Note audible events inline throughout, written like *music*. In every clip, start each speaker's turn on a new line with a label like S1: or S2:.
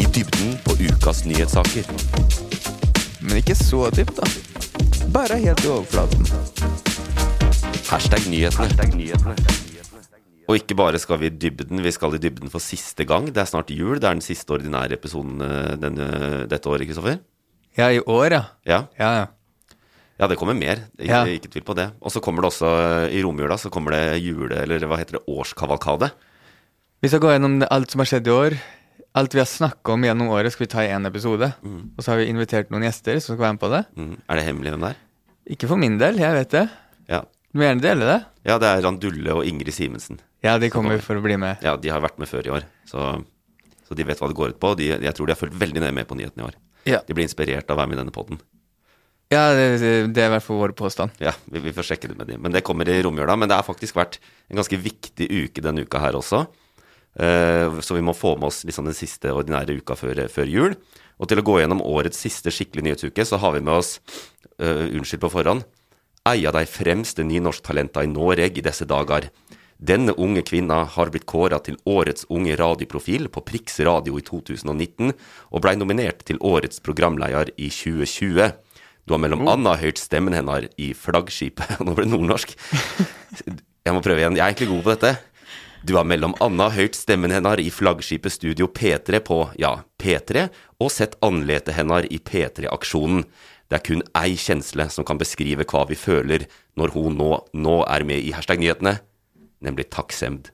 S1: I dybden på ukas nyhetssaker.
S2: Men ikke så dypt, da. Bare helt i overflaten.
S1: Hashtag nyhetene. Og ikke bare skal vi i dybden, vi skal i dybden for siste gang. Det er snart jul. Det er den siste ordinære episoden eh, denne, dette året, Kristoffer.
S2: Ja, i år, ja.
S1: Ja.
S2: Ja, ja.
S1: ja, det kommer mer. Ikke,
S2: Ja.
S1: ikke tvil på det. Og så kommer det også eh, i romjula så kommer det jule... Eller hva heter det? Årskavalkade.
S2: Vi skal gå gjennom det- alt som har skjedd i år. Alt vi har snakka om gjennom året, skal vi ta i én episode. Og så har vi invitert noen gjester som skal være med på det.
S1: Mm. Er det hemmelig, den der?
S2: Ikke for min del, jeg vet det.
S1: Ja.
S2: Du må gjerne dele det.
S1: ja, det er Randulle og Ingrid Simensen.
S2: Ja, de kommer for å bli med.
S1: Ja, de har vært med før i år, så, så de vet hva det går ut på. De, jeg tror de har fulgt veldig nøye med på nyhetene i år.
S2: Ja,
S1: De blir inspirert av å være med i denne podden.
S2: ja det, det er i hvert fall vår påstand.
S1: Ja, vi, vi får sjekke det med dem. Men det kommer i romjula. Men det har faktisk vært en ganske viktig uke denne uka her også. Eh, så vi må få med oss liksom den siste ordinære uka før, før jul. Og til å gå gjennom årets siste skikkelig nyhetsuke, så har vi med oss eh, Unnskyld på forhånd. Eia deg fremste nynorsktalenta i Noreg i disse dager. Denne unge kvinna har blitt kåra til årets unge radioprofil på Prix Radio i 2019, og blei nominert til årets programleder i 2020. Du har mellom annet hørt stemmen hennes i flaggskipet *laughs* Nå ble det nordnorsk. Jeg må prøve igjen. Jeg er egentlig god på dette. Du har mellom annet hørt stemmen hennes i flaggskipet Studio P3 på, ja, P3, og sett anletet hennes i P3-aksjonen. Det er kun ei kjensle som kan beskrive hva vi føler når hun nå, nå er med i hashtag nyhetene, nemlig takksemd.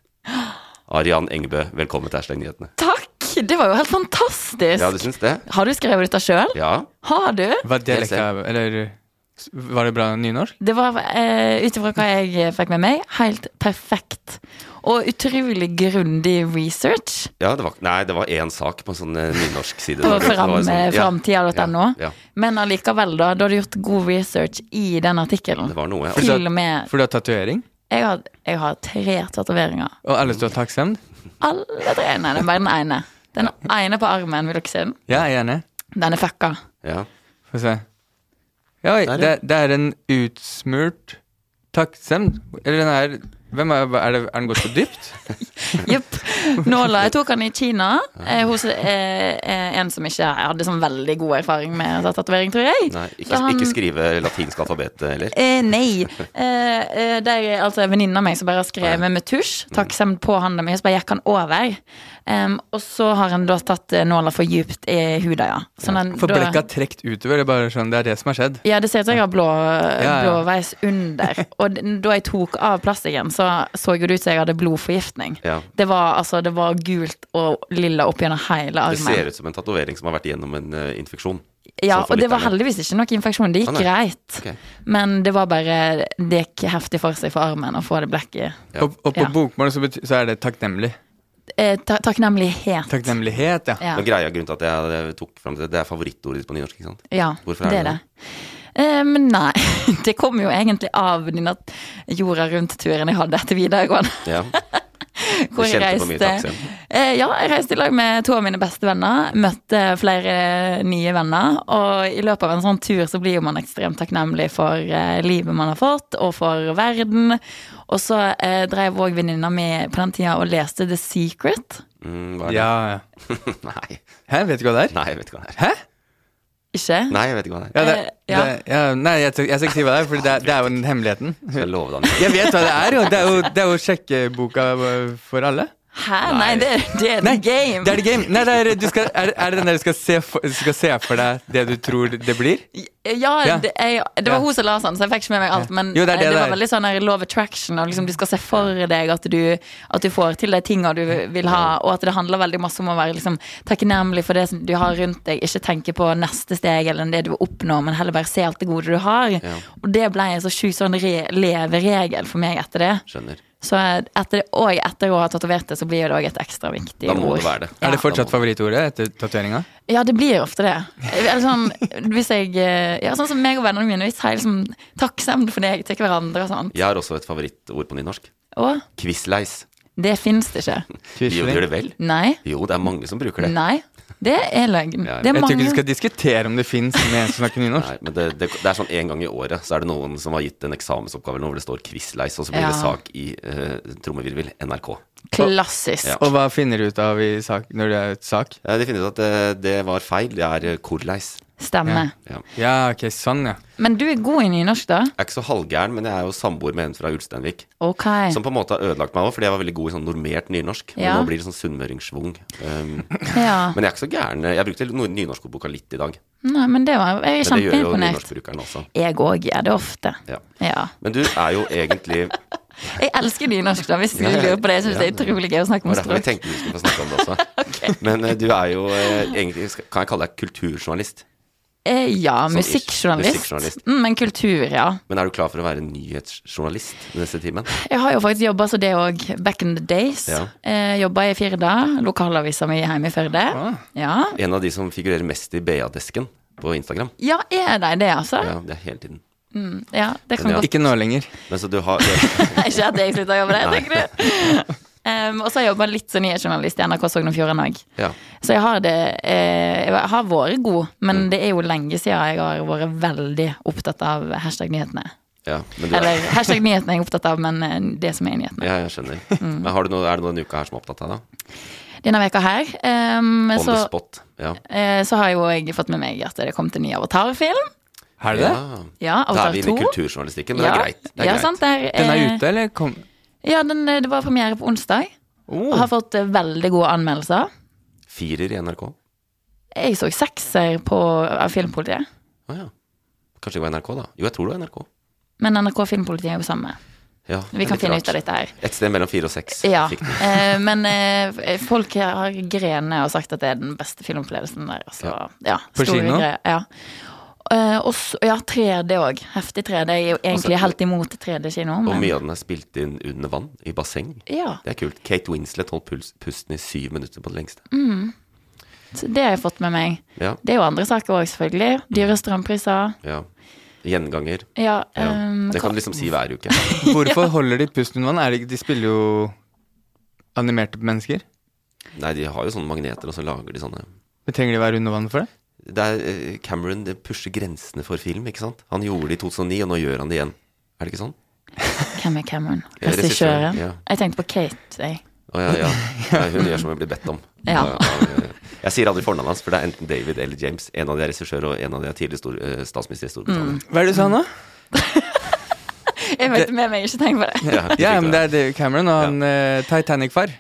S1: Arian Engebø, velkommen til hashtag nyhetene.
S3: Takk! Det var jo helt fantastisk.
S1: Ja, du syns det?
S3: Har du skrevet dette sjøl?
S1: Ja.
S3: Har du?
S2: Var det
S1: Jeg ser.
S2: lekka Eller s- var det bra nynorsk?
S3: Det var eh, ut ifra hva jeg fikk med meg, helt perfekt. Og utrolig grundig research
S1: ja det var, nei, det var én sak på en sånn eh, nynorsk
S2: *laughs*
S1: side.
S3: på
S1: Det var
S3: fram,
S1: sånn- ja,
S3: framtida.no.
S1: Ja, ja.
S3: Men allikevel, da. Du hadde gjort god research i den artikkelen.
S1: Det var noe. Altså,
S2: Fordi
S3: Til
S2: at-
S3: og med
S2: For du har tatovering?
S3: Jeg har, jeg har tre tatoveringer.
S2: Og alle står takksemd?
S3: Alle tre. Nei, det er bare den ene. Den ene på armen, vil dere se den?
S2: Ja, jeg er enig.
S3: Den er fucka.
S1: Ja.
S2: Få se. Ja, oi,
S1: Der, ja.
S2: det, det er en utsmurt takksemd. Eller den er Hvem er, er, det, er den gått for
S3: *laughs*
S2: dypt?
S3: Jepp. Nåla. Jeg tok han i Kina eh, hos eh, eh, en som ikke hadde sånn veldig god erfaring med tatt tatovering, tror jeg.
S1: Nei, ikke,
S3: Så han-
S1: ikke skrive latinsk alfabet heller.
S3: Eh, nei. Eh, eh, det er altså en venninne av meg som bare har skrevet med
S1: Mm.
S3: tusj. Takksemd på handa mi, og så bare gikk han over. Em, og så har han da tatt eh, nåla for djupt i huda, ja. Sånn han
S2: For
S3: da-
S2: blekka er trukket utover. Det er bare sånn, det er det som har skjedd.
S3: Ja, det ser ut som jeg har blå,
S2: ja.
S3: blåveis under. Og d- da jeg tok av plastikken, så så jo det ut som jeg hadde blodforgiftning.
S1: Ja.
S3: Det var, altså, det var gult og lilla opp gjennom hele
S1: Det
S3: armen.
S1: ser ut som en tatovering som har vært igjennom en eh, infeksjon.
S3: Ja,
S1: Sånn for
S3: og det var
S1: lytterne.
S3: heldigvis ikke noe infeksjon. Det
S1: Å,
S3: gikk
S1: nei.
S3: greit.
S1: Ok.
S3: Men det var bare Det gikk heftig for seg for armen å få det blekket.
S1: Ja.
S2: Og, og på
S3: Ja.
S2: bokmål så, bety- så er det takknemlig.
S3: Eh, ta takknemlighet.
S2: Takknemlighet, ja.
S3: Ja,
S1: Men greia grunnen til at jeg eh, tok fram det, det er favorittordet ditt på nynorsk, ikke sant?
S3: ja
S1: Hvorfor er
S3: det
S1: det
S3: er det. Eh, Men nei, *laughs* det kom jo egentlig av denne jorda rundt-turen jeg hadde etter videregående.
S1: Ja. Du
S3: Hvor jeg
S1: kjente på mye
S3: reiste
S1: takksemd.
S3: eh, Ja, jeg reiste i lag med to av mine beste venner. Møtte flere nye venner. Og i løpet av en sånn tur så blir jo man ekstremt takknemlig for eh, livet man har fått, og for verden. Og så eh, drev òg venninna mi på den tida og leste The Secret.
S1: Mm, hva er det?
S2: Ja, ja.
S1: *laughs* Nei.
S2: Hæ, vet du hva det er?
S1: Nei, jeg vet ikke hva det er.
S2: Hæ?
S3: Ikke?
S1: Nei, jeg vet ikke hva det er.
S2: Ja, det,
S3: Eh,
S2: det,
S3: ja.
S2: ja, nei, jeg, skal- jeg skal ikke si hva det er, for det, er- det er jo den hemmeligheten.
S1: Jeg lover deg.
S2: Jeg vet hva det er, jo. Det er jo, det er jo sjekkeboka for alle.
S3: Hæ? Nei, det, det er
S2: Nei,
S3: the game.
S2: Det er the game. Nei, det er, du skal, er, er det den der du skal se for, du skal se for deg det du tror det blir?
S3: Ja,
S2: Ja.
S3: det, jeg, det var
S2: Ja.
S3: hun som la sånn, så jeg fikk ikke med meg alt. Men
S2: Jo, det er det
S3: eh,
S2: det
S3: var
S2: er.
S3: veldig sånn her love attraction, og liksom du skal se for deg at du, at du får til de tinga du vil ha, og at det handler veldig masse om å være liksom, takknemlig for det som du har rundt deg. Ikke tenke på neste steg eller det du oppnår, men heller bare se alt det gode du har. Og det ble en så sjuk sånn re leveregel for meg etter det.
S1: Skjønner.
S3: Så etter, og etter å ha tatovert det, så blir det òg et ekstra viktig
S1: Da må
S3: ord.
S1: det være det.
S2: Er det
S1: Da
S2: fortsatt
S1: må
S2: favorittordet etter tatoveringa?
S3: Ja, det blir ofte det. Eller sånn, hvis jeg, eh, ja, sånn som meg og vennene mine, vi sier liksom takksemd for deg til hverandre og sånt.
S1: Jeg har også et favorittord på nynorsk.
S3: Og
S1: Quisleis.
S3: det finnes det ikke.
S1: De gjør det vel?
S3: Nei.
S1: Jo, det er mange som bruker det.
S3: Nei. Det er løgn.
S1: Ja,
S2: Jeg
S1: jeg
S3: Det er
S2: tror ikke du
S3: mange.
S2: skal diskutere om det fins med en som snakker nynorsk.
S1: Nei, men det, det, det er sånn en gang i året så er det noen som har gitt en eksamensoppgave eller noe hvor det står Quizleis, og så blir
S3: Ja.
S1: det sak i eh, trommevirvel NRK.
S3: Klassisk.
S1: Ja.
S2: Og hva finner du ut av i sak, når det er et sak?
S1: Eh, De finner ut at det, det var feil. Det er eh, korleis.
S3: Stemme.
S1: Ja.
S2: Ja, ok, sånn, ja.
S3: Men du er god i nynorsk, da.
S1: Jeg er ikke så halvgæren, men jeg er jo samboer med en fra Ulsteinvik.
S3: Ok.
S1: Som på en måte har ødelagt meg òg, fordi jeg var veldig god i sånn normert nynorsk. Men
S3: Ja.
S1: nå blir det sånn sunnmøringssvung. Um,
S3: Ja.
S1: men jeg er ikke så gæren. Jeg brukte no- nynorskordboka litt i dag.
S3: Nei, men det var Jeg er
S1: Men det gjør jo
S3: kjempeimponert.
S1: nynorskbrukeren også.
S3: Jeg òg gjør det ofte.
S1: Ja.
S3: Ja.
S1: Men du er jo egentlig
S3: Jeg elsker nynorsk, da, hvis du lurer på det. Jeg syns det er utrolig gøy å snakke
S1: Det
S3: om
S1: var derfor jeg
S3: språk.
S1: tenkte vi skulle få snakke om det
S3: *laughs*
S1: også. Men eh, du er jo eh, egentlig skal- Kan jeg kalle deg kulturjournalist?
S3: Eh, Ja,
S1: Sånn ish.
S3: musikkjournalist.
S1: Musikkjournalist.
S3: Mm, Men kultur, ja.
S1: Men er du klar for å være nyhetsjournalist den neste timen?
S3: Jeg har jo faktisk jobba så det òg, back in the days.
S1: Ja.
S3: Eh, jobba i Firda, lokalavisa mi hjemme i Førde. Ja.
S1: En av de som figurerer mest i BA-desken på Instagram.
S3: ja, er de det, altså?
S1: Ja, det er hele tiden.
S3: Ja, det kan
S1: Men ja.
S3: godt
S2: Ikke nå lenger.
S1: Men så du har du,
S3: *laughs* Ikke at jeg slutta å jobbe der, tenker du. Em, og så har jeg jobba litt som nyhetsjournalist i NRK Sogn og Fjordane òg.
S1: *laughs* Ja.
S3: Så jeg har det eh, Jeg har vært god, men det er jo lenge siden jeg har vært veldig opptatt av hashtag nyhetene.
S1: Ja, men du
S3: Eller
S1: er
S3: hashtag nyhetene er jeg opptatt av, men eh, det som er nyhetene.
S1: ja, jeg skjønner.
S3: Mm.
S1: Men har du noe, er det noe denne uka her som er opptatt av deg?
S3: Denne veka her em,
S1: On
S3: så,
S1: the spot. Ja.
S3: eh, så har jo jeg fått med meg at det kom til en ny Avatar-film.
S2: Er det det?
S1: Ja.
S3: Ja,
S1: Da
S3: Avatar
S1: er vi
S3: 2.
S1: inne i kulturjournalistikken, men det
S3: Ja.
S1: er greit. Det er
S3: ja,
S1: greit.
S3: Sant, det er,
S2: Den er
S3: eh,
S2: ute, eller? Kom.
S3: Ja, den, eh, det var premiere på onsdag.
S2: Oh.
S3: Og har fått eh, veldig gode anmeldelser.
S1: Firer i NRK.
S3: Jeg så sekser på av Filmpolitiet.
S1: Å ja. Kanskje det var NRK, da? Jo, jeg tror det var NRK.
S3: Men NRK Filmpolitiet er jo samme.
S1: Ja, det
S3: Vi
S1: er
S3: kan
S1: litt
S3: finne
S1: rart.
S3: ut av dette her.
S1: Et sted mellom fire og seks.
S3: Ja,
S1: fikk den.
S3: eh, Men eh, folk har grenet og sagt at det er den beste filmopplevelsen der. Altså, ja,
S2: På
S3: store
S2: kino?
S3: greier, Ja. Eh, og så- ja, 3D òg. Heftig 3D. Jeg er jo egentlig helt imot 3D-kino.
S1: Og
S3: Men
S1: mye av den er spilt inn under vann, i basseng.
S3: ja,
S1: Det er kult. Kate Winslet holdt puls, pusten i syv minutter på det lengste.
S3: Mm. så det har jeg fått med meg.
S1: Ja,
S3: Det er jo andre saker òg, selvfølgelig. Dyre strømpriser.
S1: ja. Gjenganger.
S3: Ja,
S1: Ja.
S3: ehm,
S1: Det kan du liksom si hver uke. *laughs*
S3: *laughs*
S2: Hvorfor holder de pusten under vann? Er det ikke- De spiller jo animerte mennesker.
S1: Nei, de har jo sånne magneter, og så lager de sånne
S2: Men Trenger de være under vann for det?
S1: det er, eh, Cameron det pusher grensene for film, ikke sant? Han gjorde det i 2009, og nå gjør han det igjen. Er det ikke sånn?
S3: Hvem er Cameron?
S1: Ja, regissøren,
S3: Regissøren?
S1: ja.
S3: Jeg tenkte på Kate. Jeg.
S1: Å ja, ja.
S3: *laughs*
S1: Nei, hun gjør som hun blir bedt om.
S3: Ja.
S1: Av- av, eh, Jeg sier aldri fornavnet hans, for det er enten David eller James. En av de er regissør, og en av de er tidligere stor, eh, statsminister i
S3: Mm.
S1: Storbritannia.
S2: Hva er det du sa nå?
S3: jeg vet med meg, ikke tenk på det.
S1: Ja, jeg
S2: Ja,
S1: fikk
S2: men det er David Cameron og
S1: Ja.
S2: han eh, Titanic-far.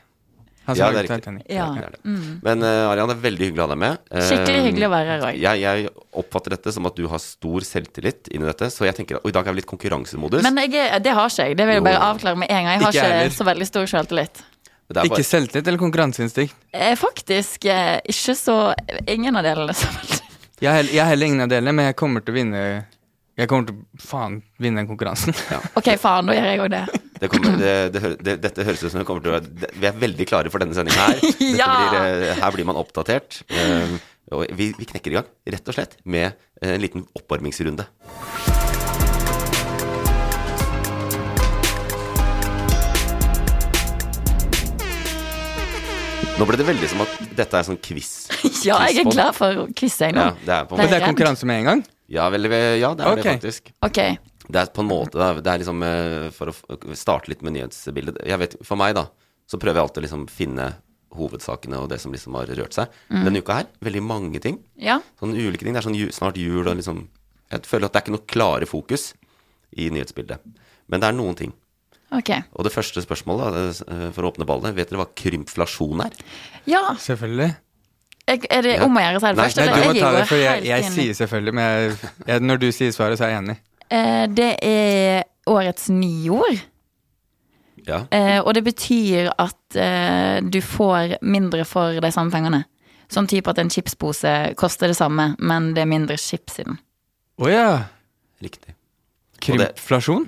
S2: Han som
S1: Ja, det
S2: laget
S1: er riktig.
S2: Titanic.
S3: *laughs* Ja.
S1: Det er det. Men eh, Arian, det er veldig hyggelig å ha deg med. Eh,
S3: Mm. Skikkelig hyggelig å være her òg.
S1: Jeg, jeg oppfatter dette som at du har stor selvtillit inni dette, så jeg tenker at, og i dag er vi litt konkurransemodus.
S3: Men jeg, er- det har ikke jeg. Det vil jeg bare avklare med en gang. Jeg har
S2: Ikke jeg
S3: ikke,
S2: heller.
S3: så veldig stor selvtillit.
S1: det er
S2: Ikke
S1: bare,
S2: selvtillit eller konkurranseinstinkt?
S3: Eh, Faktisk eh, ikke så Ingen av delene. så veldig.
S2: Jeg har hell- jeg har heller ingen av delene, men jeg kommer til å vinne Jeg kommer til å faen vinne den konkurransen. *laughs*
S3: Ok, faen, da gjør jeg òg det.
S1: *laughs* det kommer, det, det, hø- det, dette høres ut som det kommer til å være det- Vi er veldig klare for denne sendingen her. Dette
S3: Ja!
S1: blir, eh, her blir man oppdatert. Eh, og vi, vi knekker i gang, rett og slett, med eh, en liten oppvarmingsrunde. Nå ble det veldig som at dette er sånn quiz.
S3: Ja, jeg er
S1: Quiz-podd.
S3: glad for quiz, jeg
S1: Ja,
S3: nå.
S1: det er på en måte
S3: Nei.
S2: Og det er konkurranse med en gang?
S1: Ja, vel, vel, ja det er
S2: Ok.
S1: det faktisk.
S3: Ok.
S1: Det er på en måte da, Det er liksom eh, For å f- starte litt med nyhetsbildet Jeg vet, For meg, da, så prøver jeg alltid å liksom finne hovedsakene og det som liksom har rørt seg.
S2: Mm.
S1: Denne uka her, veldig mange ting.
S3: Ja.
S1: Sånn ulike ting. Det er sånn ju, snart jul og liksom Jeg føler at det er ikke noe klare fokus i nyhetsbildet. Men det er noen ting.
S3: Ok.
S1: Og det første spørsmålet da, det er, eh, for å åpne ballet, vet dere hva krympflasjon er?
S3: Ja,
S2: Selvfølgelig.
S3: jeg- er det
S1: Ja.
S3: om å gjøre å si det
S1: Nei,
S3: først?
S1: nei,
S2: Nei,
S3: eller?
S2: du må
S3: Jeg
S2: ta
S3: er
S2: det,
S3: jo
S2: for jeg,
S3: helt
S2: jeg
S3: enig.
S2: sier selvfølgelig, men jeg, jeg, når du sier svaret, så er jeg enig.
S3: Eh, Det er årets nyord.
S1: Ja.
S3: Eh, og det betyr at eh, du får mindre for de samme pengene. Sånn type at en chipspose koster det samme, men det er mindre chips i den.
S2: Å ja.
S1: Riktig.
S2: Krympflasjon.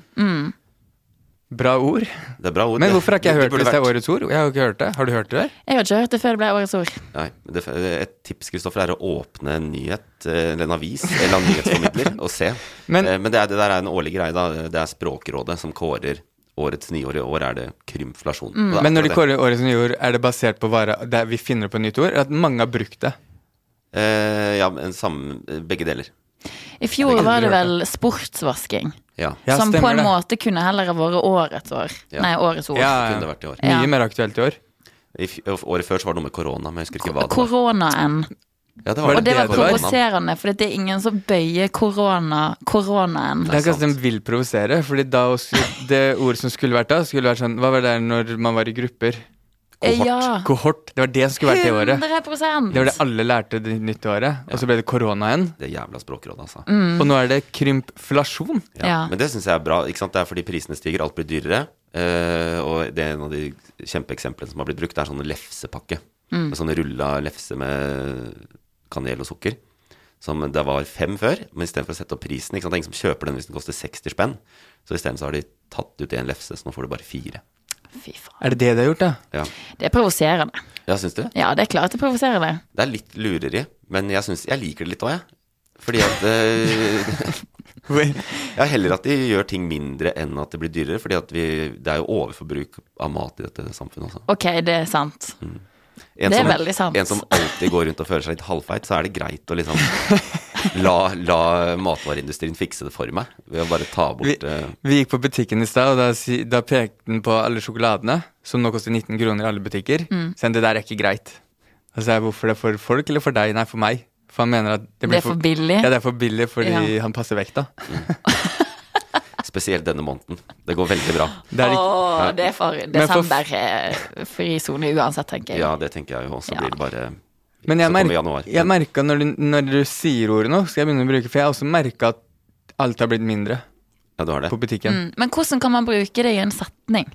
S2: Bra ord.
S1: Mm. Det er bra ord.
S2: Men hvorfor har ikke jeg
S1: Det-
S2: hørt
S1: det
S2: det hvis det er
S1: burde vært-
S2: årets ord? Jeg har jo ikke hørt det. Har du hørt det?
S3: Jeg har ikke hørt det før det ble årets ord.
S1: Nei, det, et tips Kristoffer, er å åpne en nyhet, eh, eller en avis, eller en nyhetsformidler, og se.
S2: *laughs* Men-
S1: Men, men det, er, det der er en årlig greie, da. Det er Språkrådet som kårer årets nyår. I år er det krymflasjon. Og det er
S2: Mm. Men når de
S1: akkurat
S2: kårer
S1: det.
S2: årets nyord, er det basert på hva det er vi finner på et nytt ord? Eller at mange har brukt det?
S1: Eh, Ja, men samme, begge deler.
S3: I fjor
S2: Jeg har
S3: var
S2: aldri
S3: det
S2: hørt
S3: vel sportsvasking,
S1: Ja.
S2: Ja,
S3: som på
S2: stemmer
S3: en
S2: det.
S3: måte kunne heller ha vært årets år.
S1: Ja.
S3: Nei, årets ord.
S2: Ja,
S1: Det
S2: ja.
S1: kunne det vært i år.
S3: Ja.
S2: Mye mer aktuelt i år.
S1: I f året før så var det noe med korona, men jeg husker ikke hva det var.
S3: Koronaen.
S1: Ja, det
S2: Var
S3: Og det var
S2: det det var?
S3: provoserende, for det er ingen som bøyer korona, koronaen.
S2: Det er ikke at
S1: sant.
S2: de vil provosere, Fordi da også, det ordet som skulle vært da, skulle vært sånn Hva var det der når man var i grupper?
S3: Eh,
S1: Ah.
S3: Ja,
S2: Kohort. Det var det som skulle vært det året.
S3: 100
S2: Det var det alle lærte det nytte året. Og så ble det koronaen.
S1: Det jævla Språkrådet, altså.
S2: Og nå er det krympflasjon.
S1: Ja.
S3: Ja.
S1: Men det syns jeg er bra. ikke sant? Det er fordi prisene stiger, alt blir dyrere. Eh, og det er en av de kjempeeksemplene som har blitt brukt, det er sånn lefsepakke. Med sånn rulla lefse med kanel og sukker. Som det var fem før, men istedenfor å sette opp prisen ikke sant? Det er ingen som kjøper den hvis den koster 60 spenn. Så isteden så har de tatt ut én lefse, så nå får du bare fire.
S3: Fy faen.
S2: Er det det de har gjort, da?
S1: Ja,
S3: Det er provoserende.
S1: ja syns du?
S3: Ja, det er klart det er provoserende.
S1: Det er litt lureri, men jeg, synes, jeg liker det litt òg, jeg. Fordi at eh, Ja, heller at de gjør ting mindre enn at det blir dyrere. fordi at vi, det er jo overforbruk av mat i dette samfunnet også.
S3: Ok, det er sant.
S1: En
S3: Det er
S1: som,
S3: veldig sant.
S1: En som alltid går rundt og føler seg litt halvfeit, så er det greit å liksom la, la matvareindustrien fikse det for meg. Ved å bare ta
S2: Vi,
S1: bort eh,
S2: vi gikk på butikken i stad, og da, si- da pekte den på alle sjokoladene, som nå koster 19 kroner i alle butikker.
S3: Mm.
S2: Så han, det der er ikke greit. Og så er jeg, hvorfor det er for folk eller for deg? Nei, for meg. For han mener at det,
S3: Det
S2: blir
S3: er for billig.
S2: Ja, det er for billig fordi
S3: Ja.
S2: han passer vekta.
S1: spesielt denne måneden. Det går veldig bra.
S2: Det er ikke,
S3: Åh, det er for
S2: for-
S3: desember eh, fri sone uansett, tenker jeg.
S1: Ja, det tenker jeg jo. Og så
S3: Ja.
S1: blir det bare
S2: men
S1: så
S2: jeg,
S1: kommer
S2: merk,
S1: januar.
S2: jeg merka når, du- når du sier ordet nå, skal jeg begynne å bruke, for jeg har også merka at alt har blitt mindre
S1: Ja, du har det.
S2: på butikken.
S3: Mm, Men hvordan kan man bruke det i en setning?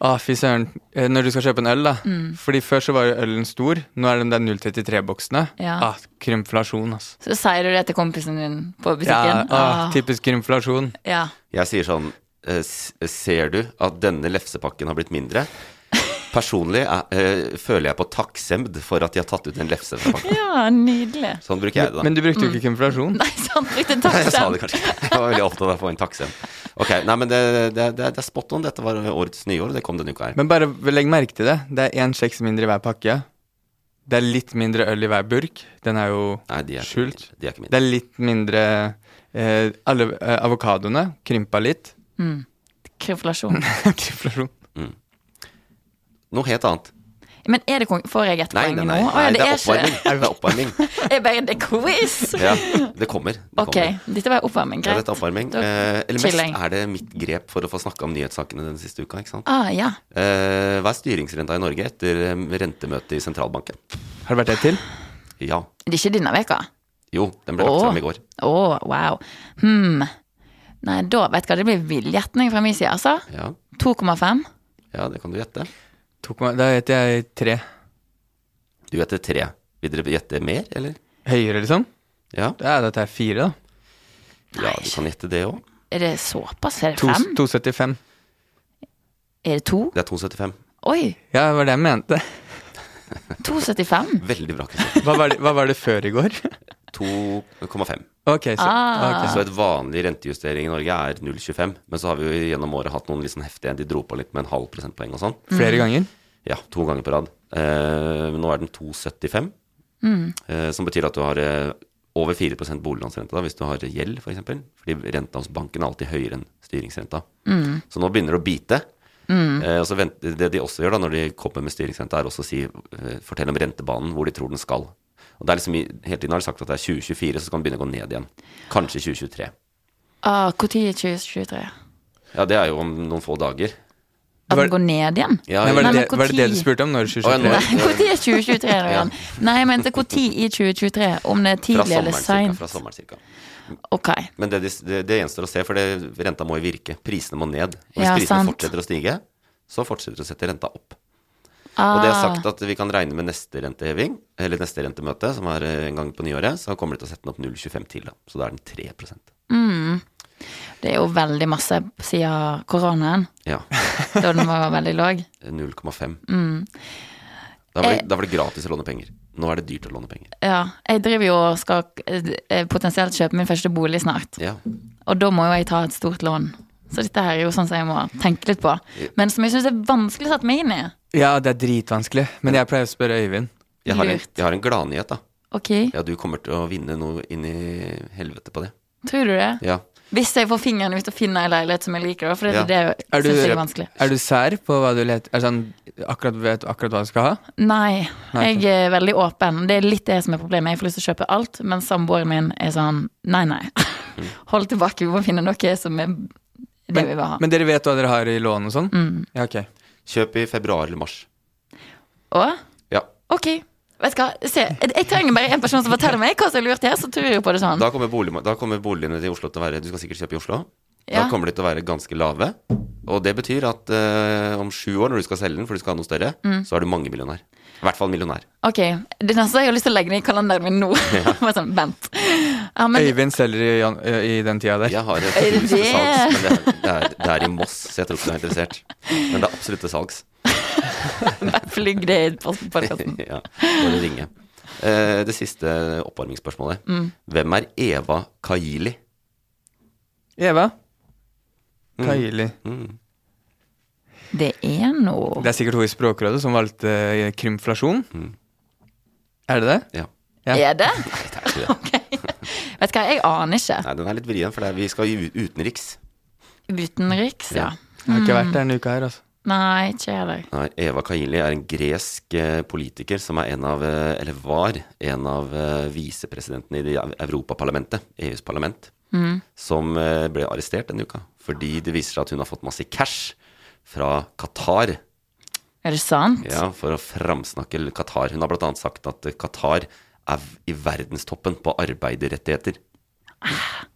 S2: Å, fy søren. Eh, Når du skal kjøpe en øl, da.
S3: Mm.
S2: Fordi før så var jo ølen stor. Nå er den der 033-boksene.
S3: Ja.
S2: Ah, krymflasjon, altså.
S3: Så sier du det til kompisen din på
S2: Ja,
S3: butikken.
S2: ah,
S3: Åh,
S2: typisk krymflasjon.
S3: ja.
S1: Jeg sier sånn eh, s- Ser du at denne lefsepakken har blitt mindre? Personlig er, eh, føler jeg på takksemd for at de har tatt ut en lefse fra pakken.
S3: ja, nydelig.
S1: Sånn bruker jeg det, da.
S2: Men du brukte jo ikke krymflasjon.
S3: Mm. Nei, sant, brukte
S1: Nei, *laughs* jeg sa
S3: taksem.
S1: det kanskje ikke. Jeg var veldig opptatt av å få en takksem. Ok, nei, men det, det, det, det er spot on. Dette var årets nyår, og det kom denne uka her.
S2: Men bare legg merke til det. Det er én kjeks mindre i hver pakke. Det er litt mindre øl i hver burk. Den er jo
S1: Nei, de er ikke
S2: skjult.
S1: mine. De er ikke mine.
S2: Det er litt mindre eh, Alle eh, avokadoene krympa litt. *laughs*
S3: Krympflasjon.
S2: Krymflasjon.
S1: Noe helt annet.
S3: Men er det kon... Får jeg ett
S1: Nei,
S3: poeng
S1: nei,
S3: nå?
S1: nei.
S3: Å, ja,
S1: nei det er
S3: ikke
S1: oppvarming. Det er oppvarming.
S3: Jeg bare *laughs* Det er quiz!
S1: Ja, *laughs* det kommer. Det
S3: Ok,
S1: kommer.
S3: dette var oppvarming.
S1: Ja,
S3: Greit.
S1: dette er oppvarming.
S3: Da-
S1: Eh, eller mest
S3: chilling.
S1: er det mitt grep for å få snakka om nyhetssakene den siste uka. ikke sant?
S3: Ah, ja.
S1: Eh, hva er styringsrenta i Norge etter eh, rentemøtet i sentralbanken?
S2: Har det vært et til?
S1: Ja.
S3: Det er ikke denne veka?
S1: Jo, den ble lagt
S3: Åh.
S1: fram i går.
S3: Å, wow. Hmm. Nei, da vet du hva, det blir villgjetning fra min side, altså.
S1: Ja,
S3: 2,5.
S1: ja, det kan du gjette.
S2: Tok meg- Da heter jeg tre.
S1: Du gjetter tre. Vil dere gjette mer, eller?
S2: Høyere, liksom?
S1: Ja,
S2: Da er dette her fire, da.
S1: ja du kan gjette det òg.
S3: Er det såpass? Er det
S2: To-
S3: fem?
S2: 275.
S3: Er det to?
S1: Det er 2,75.
S3: Oi,
S2: Ja, det var det jeg mente.
S3: 2,75.
S1: Veldig bra. *laughs* Kristian.
S2: Hva var det, hva var det før i går? *laughs*
S1: 2,5.
S2: Ok, så,
S3: Ah.
S2: ok,
S1: Så et vanlig rentejustering i Norge er 0,25. Men så har vi jo gjennom året hatt noen litt sånn heftige De dro på litt med en halv prosentpoeng og sånn.
S2: så flere ganger?
S1: Ja, to ganger på rad. Eh, nå er den 2,75.
S3: Mm.
S1: Eh, som betyr at du har eh, over 4 boliglånsrente da, hvis du har gjeld, f.eks. For eksempel. Fordi renta hos banken er alltid høyere enn styringsrenta.
S3: Mm.
S1: Så nå begynner det å bite. Eh, og så vent, det de også gjør da, når de kommer med styringsrenta, er også å si, eh, fortell om rentebanen, hvor de tror den skal. Og det er liksom, i- Hele tiden har de sagt at det er 2024, så kan den begynne å gå ned igjen. Kanskje 2023.
S3: Ah, Når er 2023?
S1: Ja, det er jo om noen få dager.
S3: At
S2: Var-
S3: den går ned igjen?
S1: Ja,
S2: Nei, var,
S3: Nei,
S2: det
S3: men
S2: det, var det det du
S3: hvor tid?
S2: spurte om? Når
S1: Å, ja,
S2: 2023?
S1: nå-
S3: Nei, når er 2023 igjen? Nei, jeg mente når i 2023? Om det er
S1: fra
S3: tidlig
S1: sommeren,
S3: eller
S1: cirka,
S3: seint?
S1: fra sommeren cirka.
S3: Ok.
S1: Men det, det, det gjenstår å se, for det, renta må jo virke. Prisene må ned. Og hvis
S3: Ja,
S1: prisene
S3: sant.
S1: fortsetter å stige, så fortsetter å sette renta opp.
S3: Ah,
S1: Og det er sagt at vi kan regne med neste renteheving, eller neste rentemøte, som er eh, en gang på nyåret, så kommer de til å sette den opp 0,25 til, da. Så da er den 3
S3: Ah, det er jo veldig masse siden koronaen,
S1: Ja.
S3: da den var *laughs* veldig lav.
S1: 0,5.
S3: Mm.
S1: Da,
S3: Eh.
S1: var det, da var det gratis å låne penger. Nå er det dyrt å låne penger.
S3: Ja, jeg driver jo og skal eh, potensielt kjøpe min første bolig snart.
S1: Ja.
S3: Og da må jo jeg ta et stort lån. Så dette her er jo sånn som jeg må tenke litt på. Men som jeg syns er vanskelig å sette meg inn i.
S2: Ja, det er dritvanskelig. Men jeg pleier å spørre Øyvind.
S1: Jeg har en,
S3: Lurt.
S1: jeg har en gladnyhet, da.
S3: Ok,
S1: Ja, du kommer til å vinne noe inn i helvete på det.
S3: tror du det?
S1: Ja.
S3: Hvis jeg får fingeren ut og finner en leilighet som jeg liker, da. For det,
S1: Ja.
S3: er det
S2: Er
S3: er
S2: du-
S3: jo jeg er vanskelig.
S2: Er du sær på hva du leter Er det sånn akkurat vet akkurat hva du skal ha?
S3: Nei,
S2: Nei,
S3: jeg er veldig åpen. Det er litt det som er problemet. Jeg får lyst til å kjøpe alt, men samboeren min er sånn nei, nei. *laughs* Hold tilbake, vi må finne noe som er det vi vil ha. Mm.
S2: Men dere vet hva dere har i lån og sånn? Ja, ok.
S1: Kjøp i februar eller mars.
S3: Og
S1: Ja.
S3: ok, vet du hva. Se, jeg, jeg trenger bare en person som forteller meg hva som er lurt her, så tror jeg på det sånn.
S1: Da kommer, bolig, da kommer boligene til Oslo til å være Du skal sikkert kjøpe i Oslo. Da
S3: Ja.
S1: kommer de til å være ganske lave. Og det betyr at eh, om sju år, når du skal selge den for du skal ha noe større,
S3: Mm.
S1: så er du mangemillionær. I hvert fall millionær.
S3: Ok, det neste jeg har lyst til å legge ned i kalenderen
S1: *laughs*
S3: min nå. *laughs* Bare sånn, vent. Ja, men
S2: Øyvind selger i, jan- ø, i den tida der.
S1: Jeg har et
S3: *laughs* Er det
S1: hus til
S3: det?
S1: salgs, men det er, det, er, det er i Moss, så jeg tror ikke du er interessert. Men det er absolutt til salgs. *laughs*
S3: flygg det i podkasten.
S1: ja, bare ringe. Eh, det siste oppvarmingsspørsmålet.
S3: Mm.
S1: Hvem er Eva Kaili?
S2: Eva? Kaili.
S3: Det er noe
S2: Det er sikkert hun i Språkrådet som valgte eh, krymflasjon. Er det det?
S1: Ja.
S3: Er
S1: *laughs*
S3: det?
S1: Det er ikke det.
S3: Vet du hva, jeg aner ikke.
S1: Nei, den er litt vrien, for det er, vi skal jo ut- utenriks.
S3: Utenriks, ja.
S2: Jeg har ikke vært
S3: Mm.
S2: der denne uka her, altså.
S3: Nei, ikke jeg heller.
S1: Nei, Eva Kaili er en gresk eh, politiker som er en av, eh, eller var, en av eh, visepresidentene i det ev- Europaparlamentet, EUs parlament, som eh, ble arrestert denne uka. Fordi det viser seg at hun har fått masse cash fra Qatar.
S3: Er det sant?
S1: Ja, for å framsnakke Qatar. Hun har bl.a. sagt at eh, Qatar er v- i verdenstoppen på arbeiderrettigheter.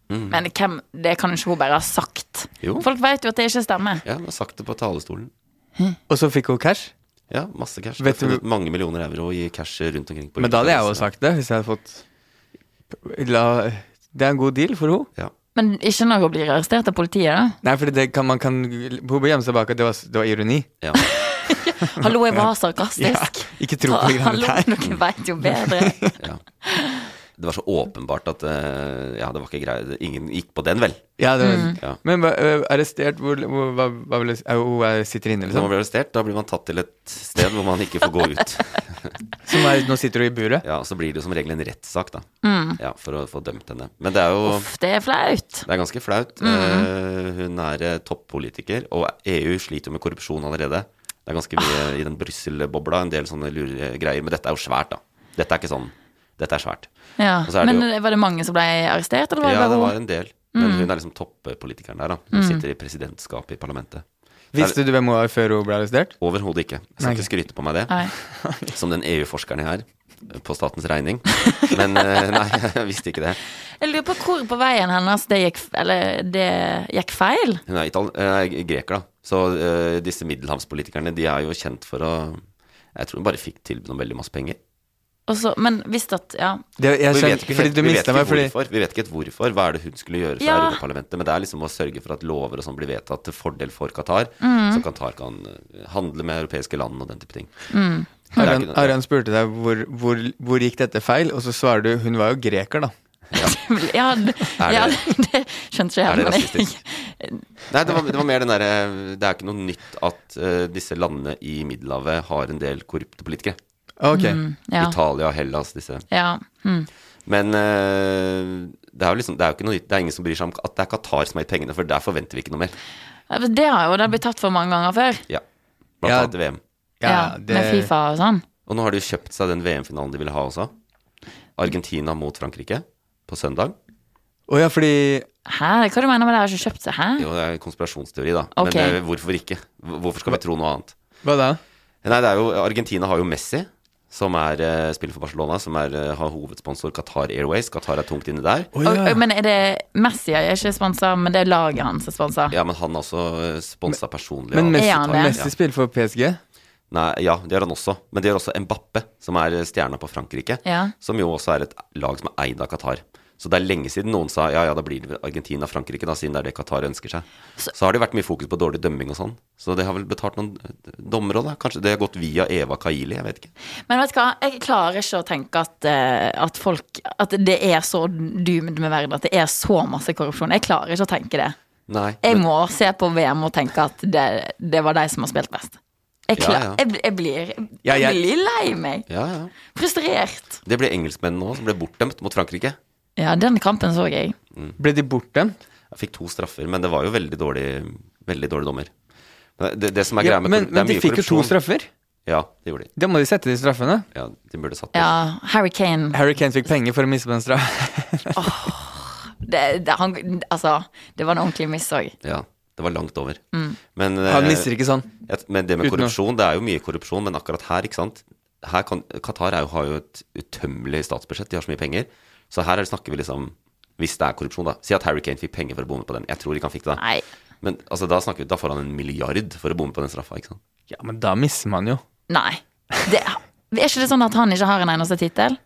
S3: Men hvem, det kan jo ikke hun bare ha sagt.
S1: Mm. Jo.
S3: Folk vet jo at det ikke stemmer.
S1: Ja, hun har sagt det på talerstolen.
S2: Og så fikk hun cash.
S1: Ja, masse cash.
S2: Vet
S1: Vet du...
S2: du-
S1: Mange millioner euro i cash rundt omkring. På
S2: Men da hadde jeg jo
S1: utenriks-
S2: sagt det, hvis jeg hadde fått La Det er en god deal for henne.
S1: Ja.
S3: Men ikke når hun blir arrestert av politiet, da.
S2: Nei, for det kan, man kan Hun bør gjemme seg bak at det var, det var ironi.
S1: ja.
S3: Hallo, jeg var sarkastisk. Ah,
S2: Ikke tro på de
S3: Hallo,
S2: greiene der.
S3: dere vet jo bedre.
S1: *laughs* Ja. Det var så åpenbart at eh, Ja, det var ikke greit. Ingen gikk på den, vel.
S2: Ja, det var,
S3: Mm.
S1: Ja.
S2: Men hva- ø, arrestert hvor, hvor, hva, hva vil jeg si? Au, Hun er- sitter inne,
S1: Når man
S2: liksom?
S1: blir arrestert, da blir man tatt til et sted hvor man ikke får gå ut.
S2: Som er, nå sitter hun i buret?
S1: Ja, og Så blir det jo som regel en rettssak, da. Ja, For å få dømt henne. Men det er jo
S3: Uff, det er flaut.
S1: Det er ganske flaut. Eh, hun er eh, toppolitiker, og EU sliter jo med korrupsjon allerede. Det er ganske mye i den Brussel-bobla, en del sånne lure greier. Men dette er jo svært, da. Dette er ikke sånn. Dette er svært.
S3: Ja.
S1: Og så er det
S3: Men eh,
S1: jo-
S3: var det mange som ble arrestert, eller var det
S1: Ja, det
S3: bare
S1: var
S3: hun?
S1: en del. Men hun er liksom toppolitikeren der, da. Hun sitter i presidentskapet i parlamentet.
S2: Visste du hvem hun var før hun ble arrestert?
S1: Overhodet ikke. Jeg skal
S2: Nei.
S1: ikke skryte på meg det,
S3: Nei.
S1: som den EU-forskeren jeg er, på statens regning. Men eh, *laughs* nei, jeg visste ikke det.
S3: Jeg lurer på hvor på veien hennes det gikk, eller det gikk feil.
S1: Hun er ital eh, greker, da. Så eh, disse middelhavspolitikerne, de er jo kjent for å Jeg tror hun bare fikk tilbud om veldig masse penger.
S3: Og så- men hvis at Ja. *laughs*
S2: Det, jeg
S1: Vi
S2: skjønner,
S1: vet ikke,
S2: fordi
S1: helt-
S2: du
S1: vi vet
S2: mista
S1: ikke
S2: meg fordi
S1: hvorfor. Vi vet ikke helt hvorfor. Hva er det hun skulle gjøre fra
S3: Ja.
S1: Europaparlamentet? Men det er liksom å sørge for at lover og sånn blir vedtatt til fordel for Qatar.
S2: Mm.
S1: Så Qatar kan eh, handle med europeiske land og den type ting. Det er
S2: Aran,
S1: ikke noe-
S2: Aran spurte deg hvor, hvor, hvor gikk dette feil, og så svarer du hun var jo greker, da.
S3: Ja, det,
S1: Er
S3: ja,
S1: det-
S3: det skjønte ikke jeg.
S1: Er det
S3: men jeg-
S1: rasistisk? Nei, det var, det var mer den derre Det er ikke noe nytt at eh, disse landene i Middelhavet har en del korrupte politikere.
S2: Ok.
S3: *laughs* Ja.
S1: Italia, Hellas, disse.
S3: ja. Mm.
S1: Men eh, det er jo liksom Det er jo ikke noe nytt. Det er ingen som bryr seg om at det er Qatar som har gitt pengene, for der forventer vi ikke noe mer.
S3: Det har jo det blitt tatt for mange ganger før.
S1: Ja. Blant
S2: Ja.
S1: annet i VM.
S3: Ja, Med Fifa og sånn.
S1: Og nå har de jo kjøpt seg den VM-finalen de ville ha også. Argentina mot Frankrike på søndag.
S2: Å ja, fordi
S3: Hæ? Hva du mener med det? Har ikke kjøpt seg? Hæ?
S1: Jo, det er en konspirasjonsteori, da.
S3: Ok.
S1: Men eh, hvorfor ikke? Hvor- Hvorfor skal vi tro noe annet?
S2: Hva da?
S1: Nei, det er jo, Argentina har jo Messi, som er, eh, spiller for Barcelona, som er, eh, har hovedsponsor Qatar Airways. Qatar er tungt inne der.
S2: Å
S3: Og,
S2: ja.
S3: og, men er det Messi er ikke sponsa, men det er laget hans som er sponsa?
S1: Ja, men han er også sponsa personlig.
S2: Men
S1: av-
S2: Messi,
S3: Er han det?
S2: Messi spiller for PSG.
S1: Nei, ja, det gjør han også. Men det gjør også Mbappe, som er eh, stjerna på Frankrike.
S3: Ja.
S1: Som jo også er et lag som er eid av Qatar. Så det er lenge siden noen sa ja, ja, da blir det Argentina-Frankrike, da, siden det er det Qatar ønsker seg. Så, har det vært mye fokus på dårlig dømming og sånn. Så det har vel betalt noen dommerrolle. Kanskje det har gått via Eva Kaili, jeg vet ikke.
S3: Men vet du hva, jeg klarer ikke å tenke at, eh, at folk At det er så doomed med verden, at det er så masse korrupsjon. Jeg klarer ikke å tenke det.
S1: Nei.
S3: Jeg
S1: men-
S3: må se på VM og tenke at det, det var de som har spilt best. Jeg,
S1: Ja,
S3: klar,
S1: ja.
S3: jeg, jeg, blir,
S2: Ja,
S3: jeg
S2: jeg-
S3: blir lei meg.
S1: Ja, ja.
S3: Frustrert.
S1: Det ble engelskmennene òg, som ble bortdømt mot Frankrike.
S3: Ja, den kampen så jeg.
S2: Ble de bortdømt?
S1: Jeg fikk to straffer, men det var jo veldig dårlig, veldig dårlig dommer. Men Det, det som er
S2: Ja,
S1: greia med
S2: men
S1: korrup- det
S2: men
S1: er
S2: de
S1: mye
S2: fikk jo to
S1: korrupsjon.
S2: straffer.
S1: Ja, det gjorde de.
S2: Da må de sette de straffene.
S1: Ja, de burde satt det.
S3: Ja, Harry Kane.
S2: Harry Kane fikk penger for å miste på en straff.
S3: Det, det, han, altså, det var en ordentlig miss òg.
S1: Ja, det var langt over.
S3: Mm.
S1: Men, eh,
S2: Han mister ikke sånn.
S1: et- men det med
S2: Uten å-
S1: korrupsjon, det er jo mye korrupsjon, men akkurat her, ikke sant her kan, Qatar er jo, har jo et utømmelig statsbudsjett, de har så mye penger. Så her er det- snakker vi liksom Hvis det er korrupsjon, da. Si at Harry Kane fikk penger for å bomme på den. Jeg tror ikke han fikk det. da.
S3: Nei.
S1: Men altså, da, snakker vi, da får han en milliard for å bomme på den straffa, ikke sant.
S2: Ja, men da mister man jo.
S3: Nei. Det, er ikke det sånn at han ikke har en eneste tittel?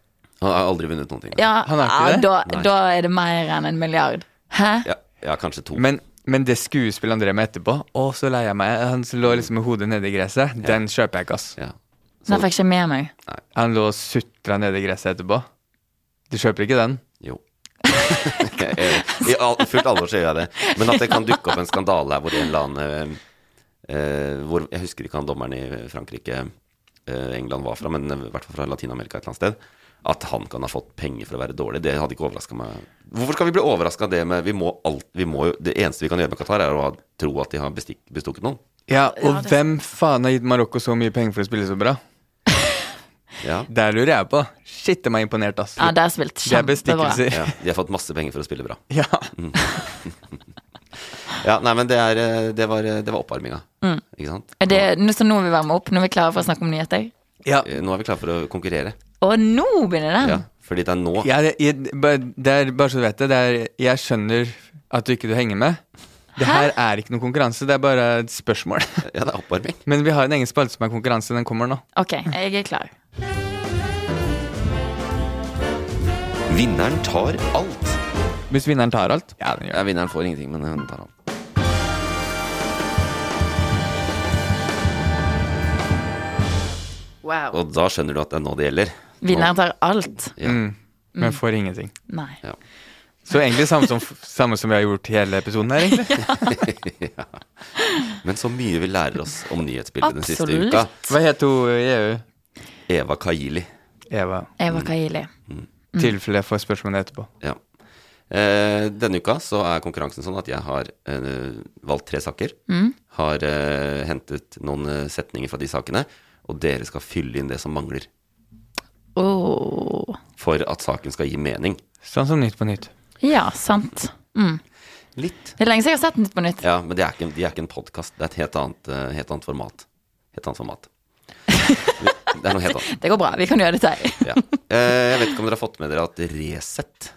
S1: Han har aldri vunnet noen ting. da.
S3: Ja,
S2: Han har ikke
S3: ja,
S2: det?
S3: Da, da er det mer enn en milliard. Hæ?
S1: Ja, ja, kanskje to.
S2: Men, men det skuespillet han drev med etterpå, å, så lei jeg meg. Han lå liksom med hodet nede i gresset. Den kjøper jeg ikke, ass.
S1: ja.
S3: Den fikk jeg ikke med meg.
S2: Han lå og sutra nede i gresset etterpå. Du kjøper ikke den?
S1: Jo. *laughs* Jeg- jeg- I all, fullt alvor så gjør jeg det. Men at det kan dukke opp en skandale her hvor en eller annen eh, eh, hvor, Jeg husker ikke han dommeren i Frankrike, eh, England var fra, men i hvert fall fra Latin-Amerika et eller annet sted. At han kan ha fått penger for å være dårlig, det hadde ikke overraska meg. Hvorfor skal vi bli overraska av det med vi må alt, vi må jo, Det eneste vi kan gjøre med Qatar, er å ha, tro at de har bestikk, bestukket noen.
S2: Ja, og hvem faen har gitt Marokko så mye penger for å spille så bra?
S1: Ja,
S2: Der lurer jeg på. Shit, de er imponert, ass.
S3: Ja, det har spilt
S2: Det er
S3: kjempebra.
S2: bestikkelser.
S1: ja, De har fått masse penger for å spille bra.
S2: Ja.
S1: Ja, nei, men det, er, eh, det var, eh, det var oppvarminga. Ikke sant?
S3: Mm. Er det, nå- så nå vil vi varme opp, nå er vi klare for å snakke om nyheter.
S2: ja.
S1: Eh, Nå er vi klare for å konkurrere.
S3: Og nå begynner den!
S1: Ja, fordi det er nå
S2: Jeg, jeg, bare- det er, bare så du vet det, det er, jeg skjønner at du ikke du henger med. Det her er ikke noen konkurranse, det er bare et spørsmål. *laughs*
S1: Ja, det er oppvarming.
S2: Men vi har en egen spalte som er konkurranse, den kommer nå.
S3: Ok, jeg er klar.
S1: Vinneren tar alt.
S2: Hvis vinneren tar alt. Ja, den
S1: Ja, vinneren får ingenting, men hun tar alt.
S3: Wow.
S1: Og da skjønner du at det er nå det gjelder.
S3: Vinneren tar alt.
S1: Mm.
S3: Mm.
S2: Men får ingenting.
S3: Nei.
S1: Ja.
S2: Så egentlig samme som, *laughs* samme som vi har gjort hele episoden her,
S3: *laughs*
S2: egentlig.
S1: Men så mye vi lærer oss om nyhetsbildet den siste
S3: Absolutt.
S1: uka.
S2: Hva het hun i EU?
S1: Eva Kaili.
S2: Eva.
S1: Mm.
S3: Eva Kaili. Mm.
S2: I tilfelle jeg får spørsmål etterpå.
S1: Ja. Eh, denne uka så er konkurransen sånn at jeg har eh, valgt tre saker. Har eh, hentet noen eh, setninger fra de sakene. Og dere skal fylle inn det som mangler.
S3: Oh.
S1: For at saken skal gi mening.
S2: Sånn som Nytt på Nytt.
S3: Ja, sant. Mm.
S1: Litt.
S3: Det er lenge siden jeg har sett Nytt på Nytt.
S1: Ja, men det er ikke, de er ikke en podkast. Det er et helt annet, eh, helt annet format. Helt annet format. Det er noe helt annet.
S3: Det går bra, vi kan gjøre dette her.
S1: Ja. Eh, jeg vet ikke om dere har fått med dere at Resett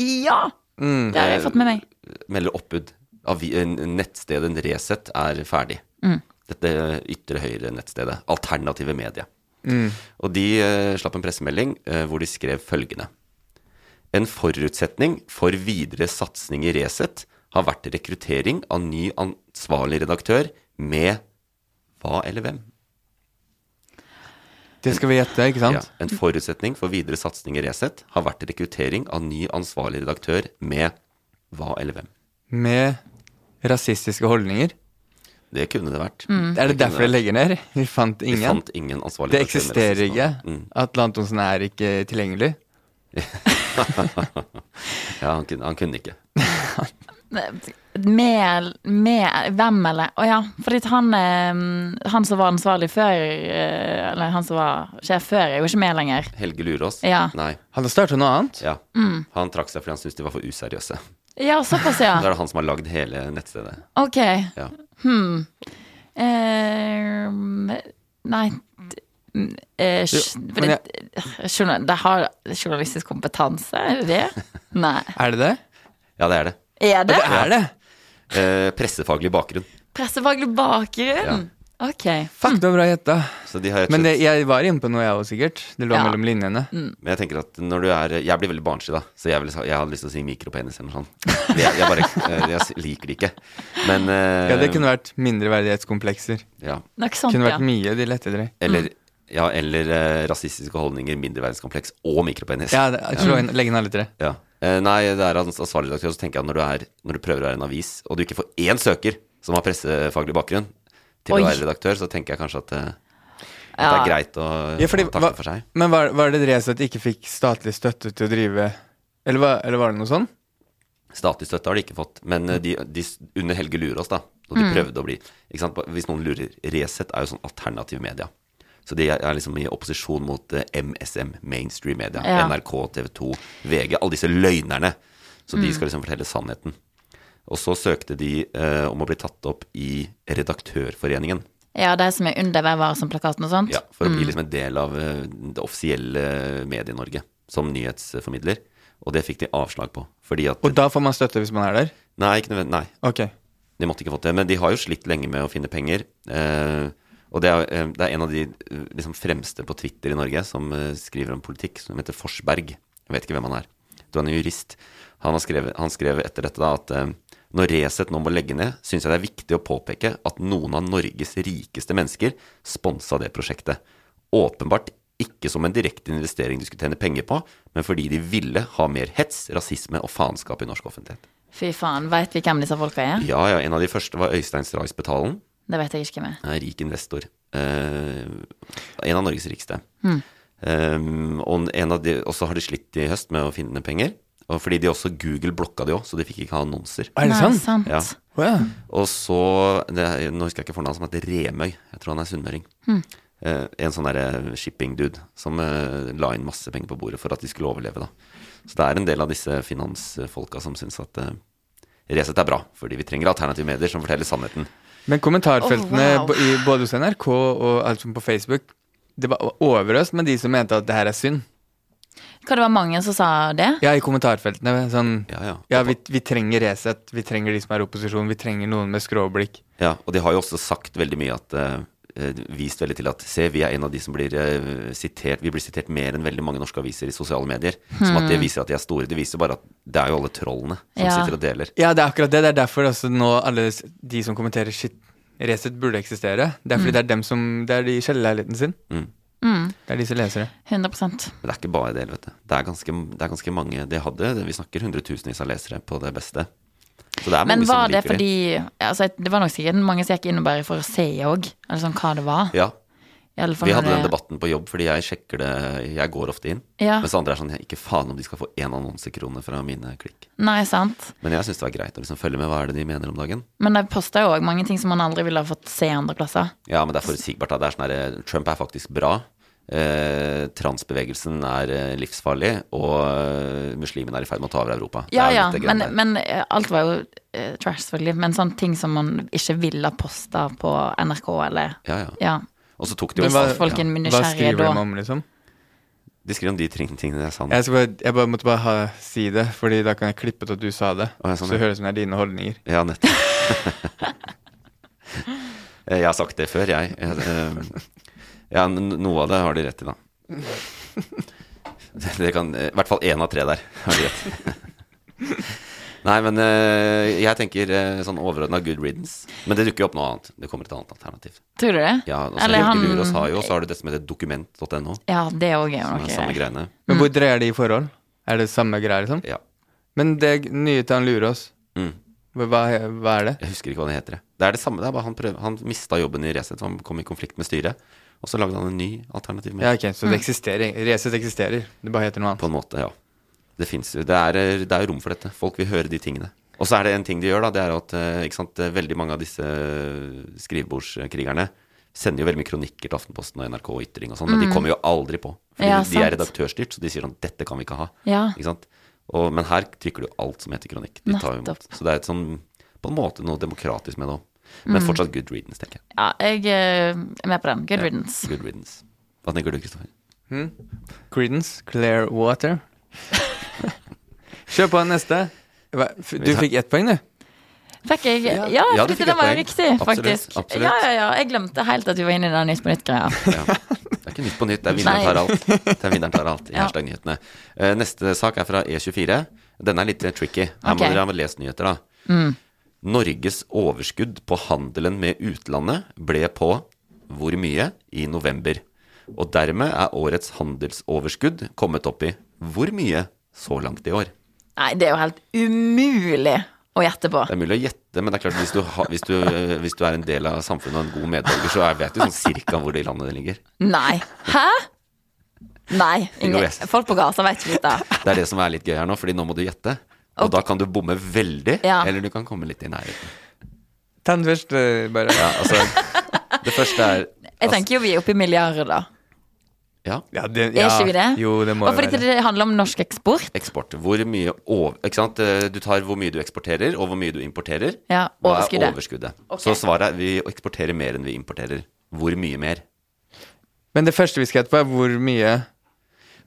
S3: Ja!
S1: Mm.
S3: Det har jeg fått med meg.
S1: melder oppbud. Avi- eh, Nettstedet Resett er ferdig.
S2: Mm.
S1: Dette ytre høyre nettstedet. Alternative media. Og de eh, slapp en pressemelding eh, hvor de skrev følgende. En forutsetning for videre satsing i Resett har vært rekruttering av ny ansvarlig redaktør med hva eller hvem?
S2: Det skal vi gjette, ikke
S1: Ja,
S2: sant?
S1: en forutsetning for videre satsing i Resett har vært rekruttering av ny ansvarlig redaktør med hva eller hvem.
S2: Med rasistiske holdninger.
S1: Det kunne det vært.
S2: Er det derfor jeg legger ned? Mm. Vi fant sånn.
S1: Vi
S2: ingen.
S1: fant ingen ansvarlig
S2: Det
S1: redaktør med
S2: eksisterer
S1: rasisme.
S2: ikke.
S1: *laughs*
S2: Atle Antonsen er ikke tilgjengelig.
S1: Ja, han kunne, han kunne ikke.
S3: Med, med Hvem, eller? Å ja. Fordi at han, eh, han som var ansvarlig før eh, Eller han som var sjef før, er jo ikke med lenger.
S1: Helge Lurås?
S3: Ja.
S1: Nei.
S2: Han har starta noe annet.
S1: Ja. Han trakk seg fordi han syntes de var for useriøse.
S3: Ja, såpass, ja.
S1: Da er *laughs* det han som har lagd hele nettstedet.
S3: Ok.
S1: Ja.
S3: Hmm. Eh, nei d- mm, eh, sj-
S2: Jo,
S3: for
S2: men
S3: det- journal- Det har journalistisk kompetanse, er det det? Nei.
S2: Er det det?
S1: Ja, det er det.
S3: Er det?
S2: Det er det.
S1: Eh, pressefaglig bakgrunn.
S3: Pressefaglig bakgrunn? Ok.
S2: Fuck, det var bra gjetta.
S1: Så de har rett og
S2: Men det,
S1: slett-
S2: jeg var inne på noe, jeg òg, sikkert. Det lå
S3: Ja. Mm.
S2: mellom linjene.
S1: Men jeg tenker at når du er Jeg blir veldig barnslig, da. Så jeg, vil, jeg hadde lyst til å si mikropenis eller noe sånt. Jeg, jeg bare
S3: *laughs*
S1: eh, Jeg liker det ikke. Men eh,
S2: Ja, det kunne vært mindreverdighetskomplekser.
S1: ja.
S3: Nok sånt,
S2: Kunne
S3: ja.
S2: vært mye de lette etter.
S3: Mm.
S1: Eller, ja, eller eh, rasistiske holdninger, mindreverdighetskompleks og mikropenis.
S2: Ja, det, slå
S3: Mm.
S2: inn, legg inn alle tre.
S1: Ja. Eh, nei, det er ans- ansvarlig redaktør. Så tenker jeg at når du, er, når du prøver å være en avis, og du ikke får én søker som har pressefaglig bakgrunn til
S3: Oi.
S1: å være redaktør, så tenker jeg kanskje at, eh, at det
S3: Ja.
S1: er greit å
S2: Ja, fordi,
S1: å
S2: hva,
S1: takke for seg.
S2: men var, var det deres at de ikke fikk statlig støtte til å drive Eller, var- eller var det noe sånn?
S1: Statlig støtte har de ikke fått, men eh, de, de s- under Helge Lurås, da, og
S2: Mm.
S1: de prøvde å bli ikke sant? Hvis noen lurer, Resett er jo sånn alternativ media. Så de er er liksom i opposisjon mot eh, MSM, mainstream media.
S3: Ja.
S1: NRK, TV 2, VG, alle disse løgnerne. Så
S2: Mm.
S1: de skal liksom fortelle sannheten. Og så søkte de eh, om å bli tatt opp i Redaktørforeningen.
S3: ja, de som er under Hvem var som-plakaten og sånt?
S1: Ja, for å bli
S2: Mm.
S1: liksom en del av eh, det offisielle Medie-Norge som nyhetsformidler. Og det fikk de avslag på. Fordi at
S2: Og da får man støtte hvis man er der?
S1: Nei, ikke nødvendig. Nei.
S2: Ok.
S1: De måtte ikke fått det, men de har jo slitt lenge med å finne penger. Eh, og det er, eh, det er en av de eh, liksom, fremste på Twitter i Norge som eh, skriver om politikk, som heter Forsberg. Jeg vet ikke hvem han er. Du er en jurist. Han, har skrevet, han skrev etter dette da at eh, når Resett nå må legge ned, syns jeg det er viktig å påpeke at noen av Norges rikeste mennesker sponsa det prosjektet. Åpenbart ikke som en direkte investering du skulle tjene penger på, men fordi de ville ha mer hets, rasisme og faenskap i norsk offentlighet.
S3: Fy faen, veit vi hvem disse folka er?
S1: Ja, ja, en av de første var Øystein Straisbetalen.
S3: Det vet jeg ikke hvem er.
S1: Han er en rik investor. Eh, en av Norges rikeste.
S2: Mm.
S1: Eh, og en av de, og så har de slitt i høst med å finne penger. Og fordi de også Google blokka de òg, så de fikk ikke ha annonser.
S2: Er det
S3: Nei,
S2: sant?
S3: sant?
S1: Ja.
S2: Å ja.
S1: Og så det, er- Nå husker jeg ikke fornavnet, som heter Remøy. Jeg tror han er sunnmøring.
S2: Mm.
S1: Eh, en sånn derre shipping-dude som eh, la inn masse penger på bordet for at de skulle overleve, da. Så det er en del av disse finansfolka som syns at eh, Resett er bra, fordi vi trenger alternative medier som forteller sannheten.
S2: Men kommentarfeltene
S3: Å, wow.
S2: bo- i, både hos NRK og alt som på Facebook Det var overøst med de som mente at det her er synd.
S3: Hva det var mange som sa det?
S2: Ja, i kommentarfeltene. Sånn
S1: Ja, ja.
S2: Ja, vi, vi trenger Resett. Vi trenger de som er i opposisjon. Vi trenger noen med skråblikk.
S1: Ja, og de har jo også sagt veldig mye at eh, eh, Vist veldig til at se, vi er en av de som blir eh, sitert Vi blir sitert mer enn veldig mange norske aviser i sosiale medier. Som at det viser at de er store. Det viser bare at det er jo alle trollene som
S3: Hmm. Ja.
S1: sitter og deler.
S2: Ja, det er akkurat det. Det er derfor altså nå alle s- de som kommenterer shit, Resett burde eksistere. Det er
S3: Mm.
S2: fordi det er dem som Det er de i kjellerleiligheten sin. Det er de som leser det.
S1: Mm.
S3: 100
S1: Men det er ikke bare det, vet du. Det er ganske, det er ganske mange de hadde. Vi snakker hundretusenvis av lesere på det beste. Så det er mange
S3: Men var
S1: som
S3: det
S1: liker de.
S3: fordi altså, Det var nok sikkert mange som gikk inn bare for å se òg, eller sånn hva det var.
S1: Ja.
S3: I alle fall
S1: Vi
S3: når
S1: hadde den
S3: det-
S1: debatten på jobb, fordi jeg sjekker det Jeg går ofte inn.
S3: Ja.
S1: Mens andre er sånn Ikke faen om de skal få én annonsekrone fra mine klikk.
S3: Nei, sant.
S1: Men jeg syns det var greit å liksom følge med hva er det de mener om dagen.
S3: Men de posta jo òg mange ting som man aldri ville ha fått se andre plasser.
S1: Ja, men det er forutsigbart. da. Det er sånn her, eh, Trump er faktisk bra. Eh, transbevegelsen er eh, livsfarlig, og eh, muslimene er i ferd med å ta over Europa. Det
S3: Ja
S1: er jo
S3: ja,
S1: litt det
S3: men,
S1: greiene der.
S3: men eh, alt var jo eh, trash, selvfølgelig. Men sånne ting som man ikke ville ha posta på NRK eller
S1: ja, ja.
S3: Ja.
S1: Og så tok de jo
S2: Men hva-
S3: Hvis folk er
S2: Hva
S3: nysgjerrige
S2: skriver
S3: da.
S2: de om, liksom?
S1: De skriver om de ting- tingene jeg sa nå.
S2: Jeg, skal bare, jeg bare måtte bare ha, si det, Fordi da kan jeg klippe ut at du sa det.
S1: Å, ja, sånn,
S2: så
S1: ja.
S2: høres det ut som det er dine holdninger.
S1: Ja, nettopp. *laughs* Eh, jeg har sagt det før, jeg. Eh, eh, Ja, n- noe av det har de rett i, da. Det det kan, eh, I hvert fall én av tre der har de rett. *laughs* Nei, men eh, jeg tenker eh, sånn overordna good riddance. Men det dukker jo opp noe annet. Det kommer et annet alternativ.
S3: Tror du det?
S1: Ja, og så
S3: eller
S1: Helge
S3: han
S1: Lurås har jo, så har du det som heter dokument.no.
S3: Ja, det òg er jo
S1: Som er samme
S3: noe.
S1: greiene.
S2: Men hvor dreier det i forhold? Er det samme greier, liksom?
S1: Ja.
S2: Men det nye til han Lurås,
S1: Mm.
S2: hva, hva- hva er det?
S1: Jeg husker ikke hva det heter. jeg. Det er det samme. Det er bare han, prøv, han mista jobben i Resett, han kom i konflikt med styret. Og så lagde han en ny alternativ med
S2: Ja, ok, Så det eksisterer. Resett eksisterer. Det bare heter noe annet.
S1: På en måte, ja. Det fins jo. Det er, det er rom for dette. Folk vil høre de tingene. Og så er det en ting de gjør, da, det er at eh, ikke sant, veldig mange av disse eh, skrivebordskrigerne sender jo veldig mye kronikker til Aftenposten og NRK og Ytring og sånn, men de kommer jo aldri på. Fordi
S3: Mm. Ja,
S1: de
S3: sant.
S1: er redaktørstyrt, så de sier sånn dette kan vi ikke ha.
S3: Ja.
S1: Ikke sant? Og, men her trykker du alt som heter kronikk. De tar jo imot.
S3: Nettopp.
S1: Så det er et sånn, på en måte noe demokratisk med det òg.
S3: Mm.
S1: Men fortsatt good readings, tenker jeg.
S3: Ja, jeg eh, er med på den. Good riddance.
S1: Good readings. Hva tenker du,
S3: *laughs*
S1: Kristoffer?
S2: Creedence, Clear Water. Kjør på neste. Hva- f- Du fikk ett poeng, du.
S3: Fikk jeg? Ja,
S1: Ja, du fikk
S3: fordi den
S1: et
S3: var
S1: poeng.
S3: jo riktig, faktisk.
S1: Absolutt, absolutt.
S3: Ja, ja, ja. Jeg glemte helt at vi var inne i den Nytt på nytt-greia.
S1: *laughs* Ja. Det er ikke nytt på nytt, det er vinneren
S3: Nei.
S1: tar alt. Det er vinneren tar alt i
S3: *laughs* Ja.
S1: hashtag nyhetene. Eh, Neste sak er fra E24. Denne er litt eh, tricky. Her må
S3: Ok. Mm.
S1: dere ha lest nyheter, da. Norges overskudd på handelen med utlandet ble på hvor mye i november? Og dermed er årets handelsoverskudd kommet opp i hvor mye så langt i år?
S3: Nei, det er jo helt umulig å gjette på.
S1: Det er mulig å gjette, men det er klart hvis du, har- hvis du, eh, hvis du er en del av samfunnet og en god medborger, så er- vet du sånn cirka hvor det i landet det ligger.
S3: Nei. Hæ? Nei.
S1: Jo,
S3: Ingen.
S1: yes.
S3: Folk på gata vet ikke
S1: *laughs*
S3: dette.
S1: Det er det som er litt gøy her nå, fordi nå må du gjette. Og da kan du bomme veldig,
S3: Ja.
S1: eller du kan komme litt i nærheten.
S2: Ta den først, eh, bare.
S1: Ja, altså, det første er
S3: Jeg tenker jo vi er oppe i milliarder.
S1: Ja,
S2: Ja, det-
S3: Er
S2: ja.
S3: ikke vi det?
S2: Jo, det må
S3: Og
S2: jo
S3: fordi
S2: være.
S3: det handler om norsk eksport.
S1: eksport. Hvor mye over... Ikke sant? Eh, Du tar hvor mye du eksporterer, og hvor mye du importerer.
S3: Ja,
S1: Hva er
S3: overskuddet.
S1: overskuddet? Så svaret er vi eksporterer mer enn vi importerer. Hvor mye mer?
S2: Men det første vi skal gjette på, er hvor mye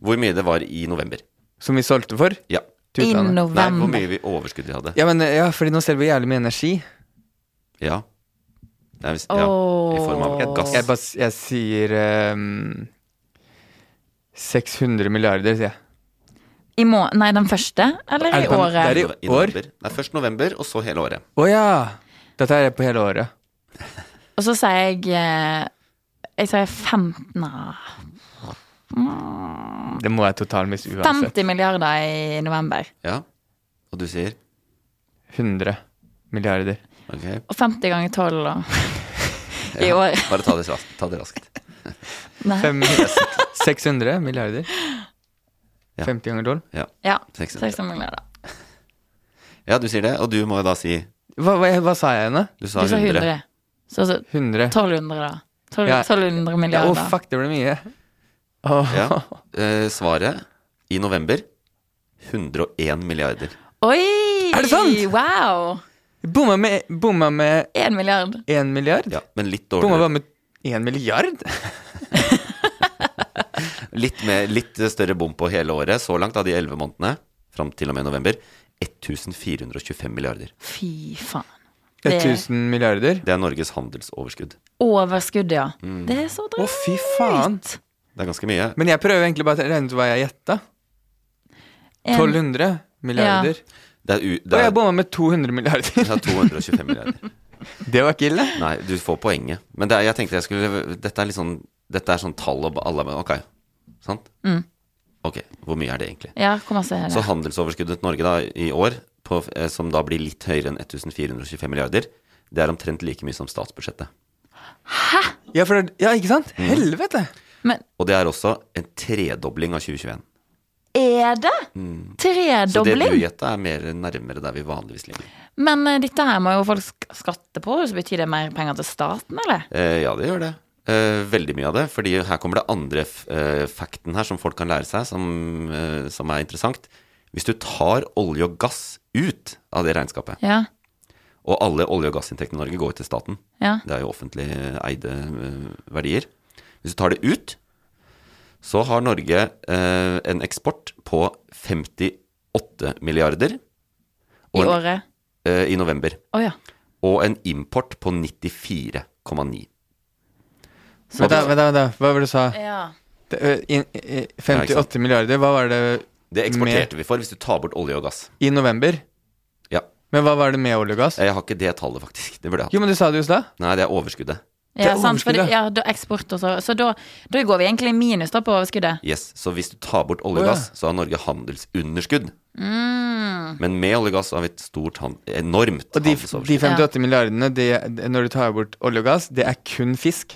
S1: Hvor mye det var i november.
S2: som vi solgte for.
S1: Ja.
S2: til
S3: I
S2: utlandet.
S1: Nei, hvor
S3: november.
S1: mye vi overskudd vi hadde.
S2: Ja, men eh, ja, fordi nå selger vi jævlig mye energi.
S1: Ja. Det er, hvis- ja. I form av
S3: Åh.
S1: gass.
S2: Jeg, bare, s- jeg sier ehm, 600 milliarder, sier jeg.
S3: I må nei, den første? Eller
S2: Er
S3: i
S2: det den-
S3: året?
S2: det er i år?
S1: november. Nei, først november, og så hele året.
S2: Å ja! Dette er på hele året.
S3: Og så sier jeg eh, Jeg sier 15 nei,
S2: Det må jeg totalmist uansett.
S3: 50 milliarder i november.
S1: Ja. Og du sier
S2: 100 milliarder.
S1: Ok.
S3: Og 50 ganger 12
S2: *laughs*
S3: og, i år.
S1: Bare ta det raskt. Ta det raskt.
S3: Nei.
S2: Fem-
S1: *laughs*
S2: 600 milliarder.
S1: Ja.
S2: 50 ganger 12.
S1: Ja.
S3: Ja,
S1: 600.
S3: 600 milliarder.
S1: ja, du sier det, og du må jo da si
S2: Hva, hva, hva sa jeg henne?
S1: Du sa
S3: Du sa
S1: 100.
S3: 100. Så, så
S2: 100.
S3: 1200, da. 12,
S2: Ja.
S3: 1200
S2: Ja, Å,
S3: milliarder.
S2: fuck, det ble mye. Åh.
S1: Ja. Eh, svaret i november 101 milliarder.
S3: Oi!
S2: Er det sant?
S3: Wow!
S2: Bomma med, bomma med
S3: 1 milliard.
S2: 1 milliard?
S1: Ja, men litt
S2: Bomma
S1: dårligere.
S2: bare med 1 milliard?
S1: Litt, mer- litt større bom på hele året så langt av de 11 månedene fram til og med november. 1425 milliarder.
S3: Fy faen. Det-
S2: 1000 milliarder?
S1: Det er Norges handelsoverskudd.
S3: Overskuddet, ja. Det er så
S2: Mm. Å,
S3: drøyt.
S2: fy faen.
S1: Det er ganske mye.
S2: Men jeg prøver egentlig bare å regne ut hva jeg gjetta.
S3: En-
S2: 1200 milliarder.
S1: Det er, u, det
S2: Og
S1: er,
S2: jeg bomma med 200 milliarder.
S1: *laughs* det er 225 milliarder.
S2: *laughs* Det var ikke ille.
S1: Nei, du får poenget. Men det er, jeg tenkte jeg skulle Dette er litt sånn Dette er sånn tall og alle men Ok, sant? Ok, hvor mye er det egentlig?
S3: Ja, hvor masse er det?
S1: Så handelsoverskuddet til Norge da, i år, på, eh, som da blir litt høyere enn 1425 milliarder, det er omtrent like mye som statsbudsjettet.
S2: Ja, for, det- ja ikke sant?
S1: Mm.
S2: Helvete!
S3: Men
S1: Og det er også en tredobling av 2021.
S3: er det?
S1: Så det du
S3: Tredobling?
S1: gjetta, er mer nærmere der vi vanligvis ligger.
S3: Men eh, dette her må jo folk sk- skatte på, så betyr det mer penger til staten, eller?
S1: Eh, ja, det gjør det. Eh, veldig mye av det. fordi her kommer det andre f eh, fakten her som folk kan lære seg, som, eh, som er interessant. Hvis du tar olje og gass ut av det regnskapet,
S3: Ja.
S1: og alle olje- og gassinntektene i Norge går jo til staten,
S3: ja.
S1: Det er jo offentlig eide eh, verdier. Hvis du tar det ut, så har Norge eh, en eksport på 58 milliarder
S3: I
S1: og en-
S3: året?
S1: eh, i november.
S3: Å ja.
S1: Og en import på 94,9.
S2: Vent, da, vent, da, vent da. Hva var det du sa?
S3: ja.
S2: Det, ø, i- i-
S1: Ja, ikke
S2: 58 milliarder, hva var det
S1: Det eksporterte vi for hvis du tar bort olje og gass.
S2: i november?
S1: Ja.
S2: Men hva var det med olje og gass?
S1: Jeg har ikke det tallet, faktisk. Det burde jeg hatt.
S2: Jo, men du sa det jo i stad.
S1: Nei, det er overskuddet.
S2: Det
S3: Ja,
S2: er
S3: sant, for det,
S2: overskuddet.
S3: ja, da eksport og så Så da, da går vi egentlig i minus da på overskuddet.
S1: Yes, Så hvis du tar bort olje
S2: Å,
S1: og
S2: ja.
S1: gass, så har Norge handelsunderskudd. Men med olje og gass har vi et stort, han- enormt
S2: Mm. Og de,
S1: handelsoverskudd.
S2: de 58 milliardene, det- det- når du tar bort olje og gass, det er kun fisk.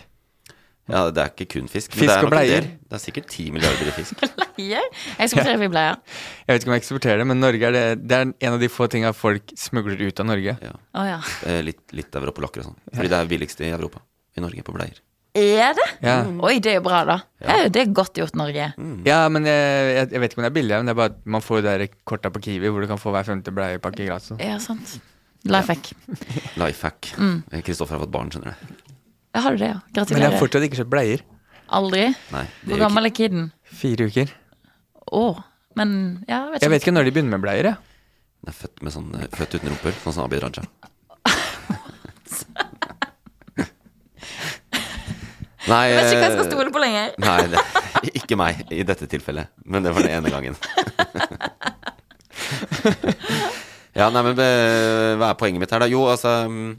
S1: Ja, det er ikke kun fisk.
S2: Fisk
S1: men det er
S2: og
S1: nok en
S2: bleier.
S3: *laughs*
S1: del. Det er sikkert 10 milliarder i fisk.
S3: Ja, Jeg skal fortelle bibleier.
S2: Jeg vet ikke om jeg eksporterer det, men Norge er det, det er en av de få tinga folk smugler ut av Norge.
S1: Ja.
S3: Å ja.
S1: Eh, litt, litt europalakker og sånn. Fordi det er billigst i Europa. I Norge, på bleier.
S3: Er det?
S2: Ja. Mm.
S3: Oi, det er jo bra, da. Det er jo- Det er godt gjort, Norge.
S2: Ja, men jeg, jeg, jeg vet ikke om det er billigere, men det er bare at man får de der korta på Kiwi hvor du kan få hver femte bleiepakke gratis.
S3: Ja, sant. Life hack.
S1: Life hack.
S3: Mm.
S1: Eh, Kristoffer har fått barn, skjønner du.
S3: Jeg har du det, ja.
S2: Men jeg har
S3: Gratulerer.
S2: fortsatt ikke kjøpt bleier.
S3: Aldri.
S1: Nei, det
S3: Hvor
S1: gjør ikke.
S3: gammel er kiden?
S2: Fire uker.
S3: Å. Men ja, vet
S2: Jeg
S3: ikke.
S2: vet ikke når de begynner med bleier, jeg.
S1: Den er født, med sånn, eh, født uten rumpehull, sånn som Abid
S3: *laughs*
S1: Raja. Nei,
S3: Jeg vet ikke hva jeg
S1: eh,
S3: skal stole på lenger.
S1: Nei, det, ikke meg i dette tilfellet, men det var den ene
S3: *laughs*
S1: gangen. ja, nei, men eh, hva er poenget mitt her, da? Jo, altså mm,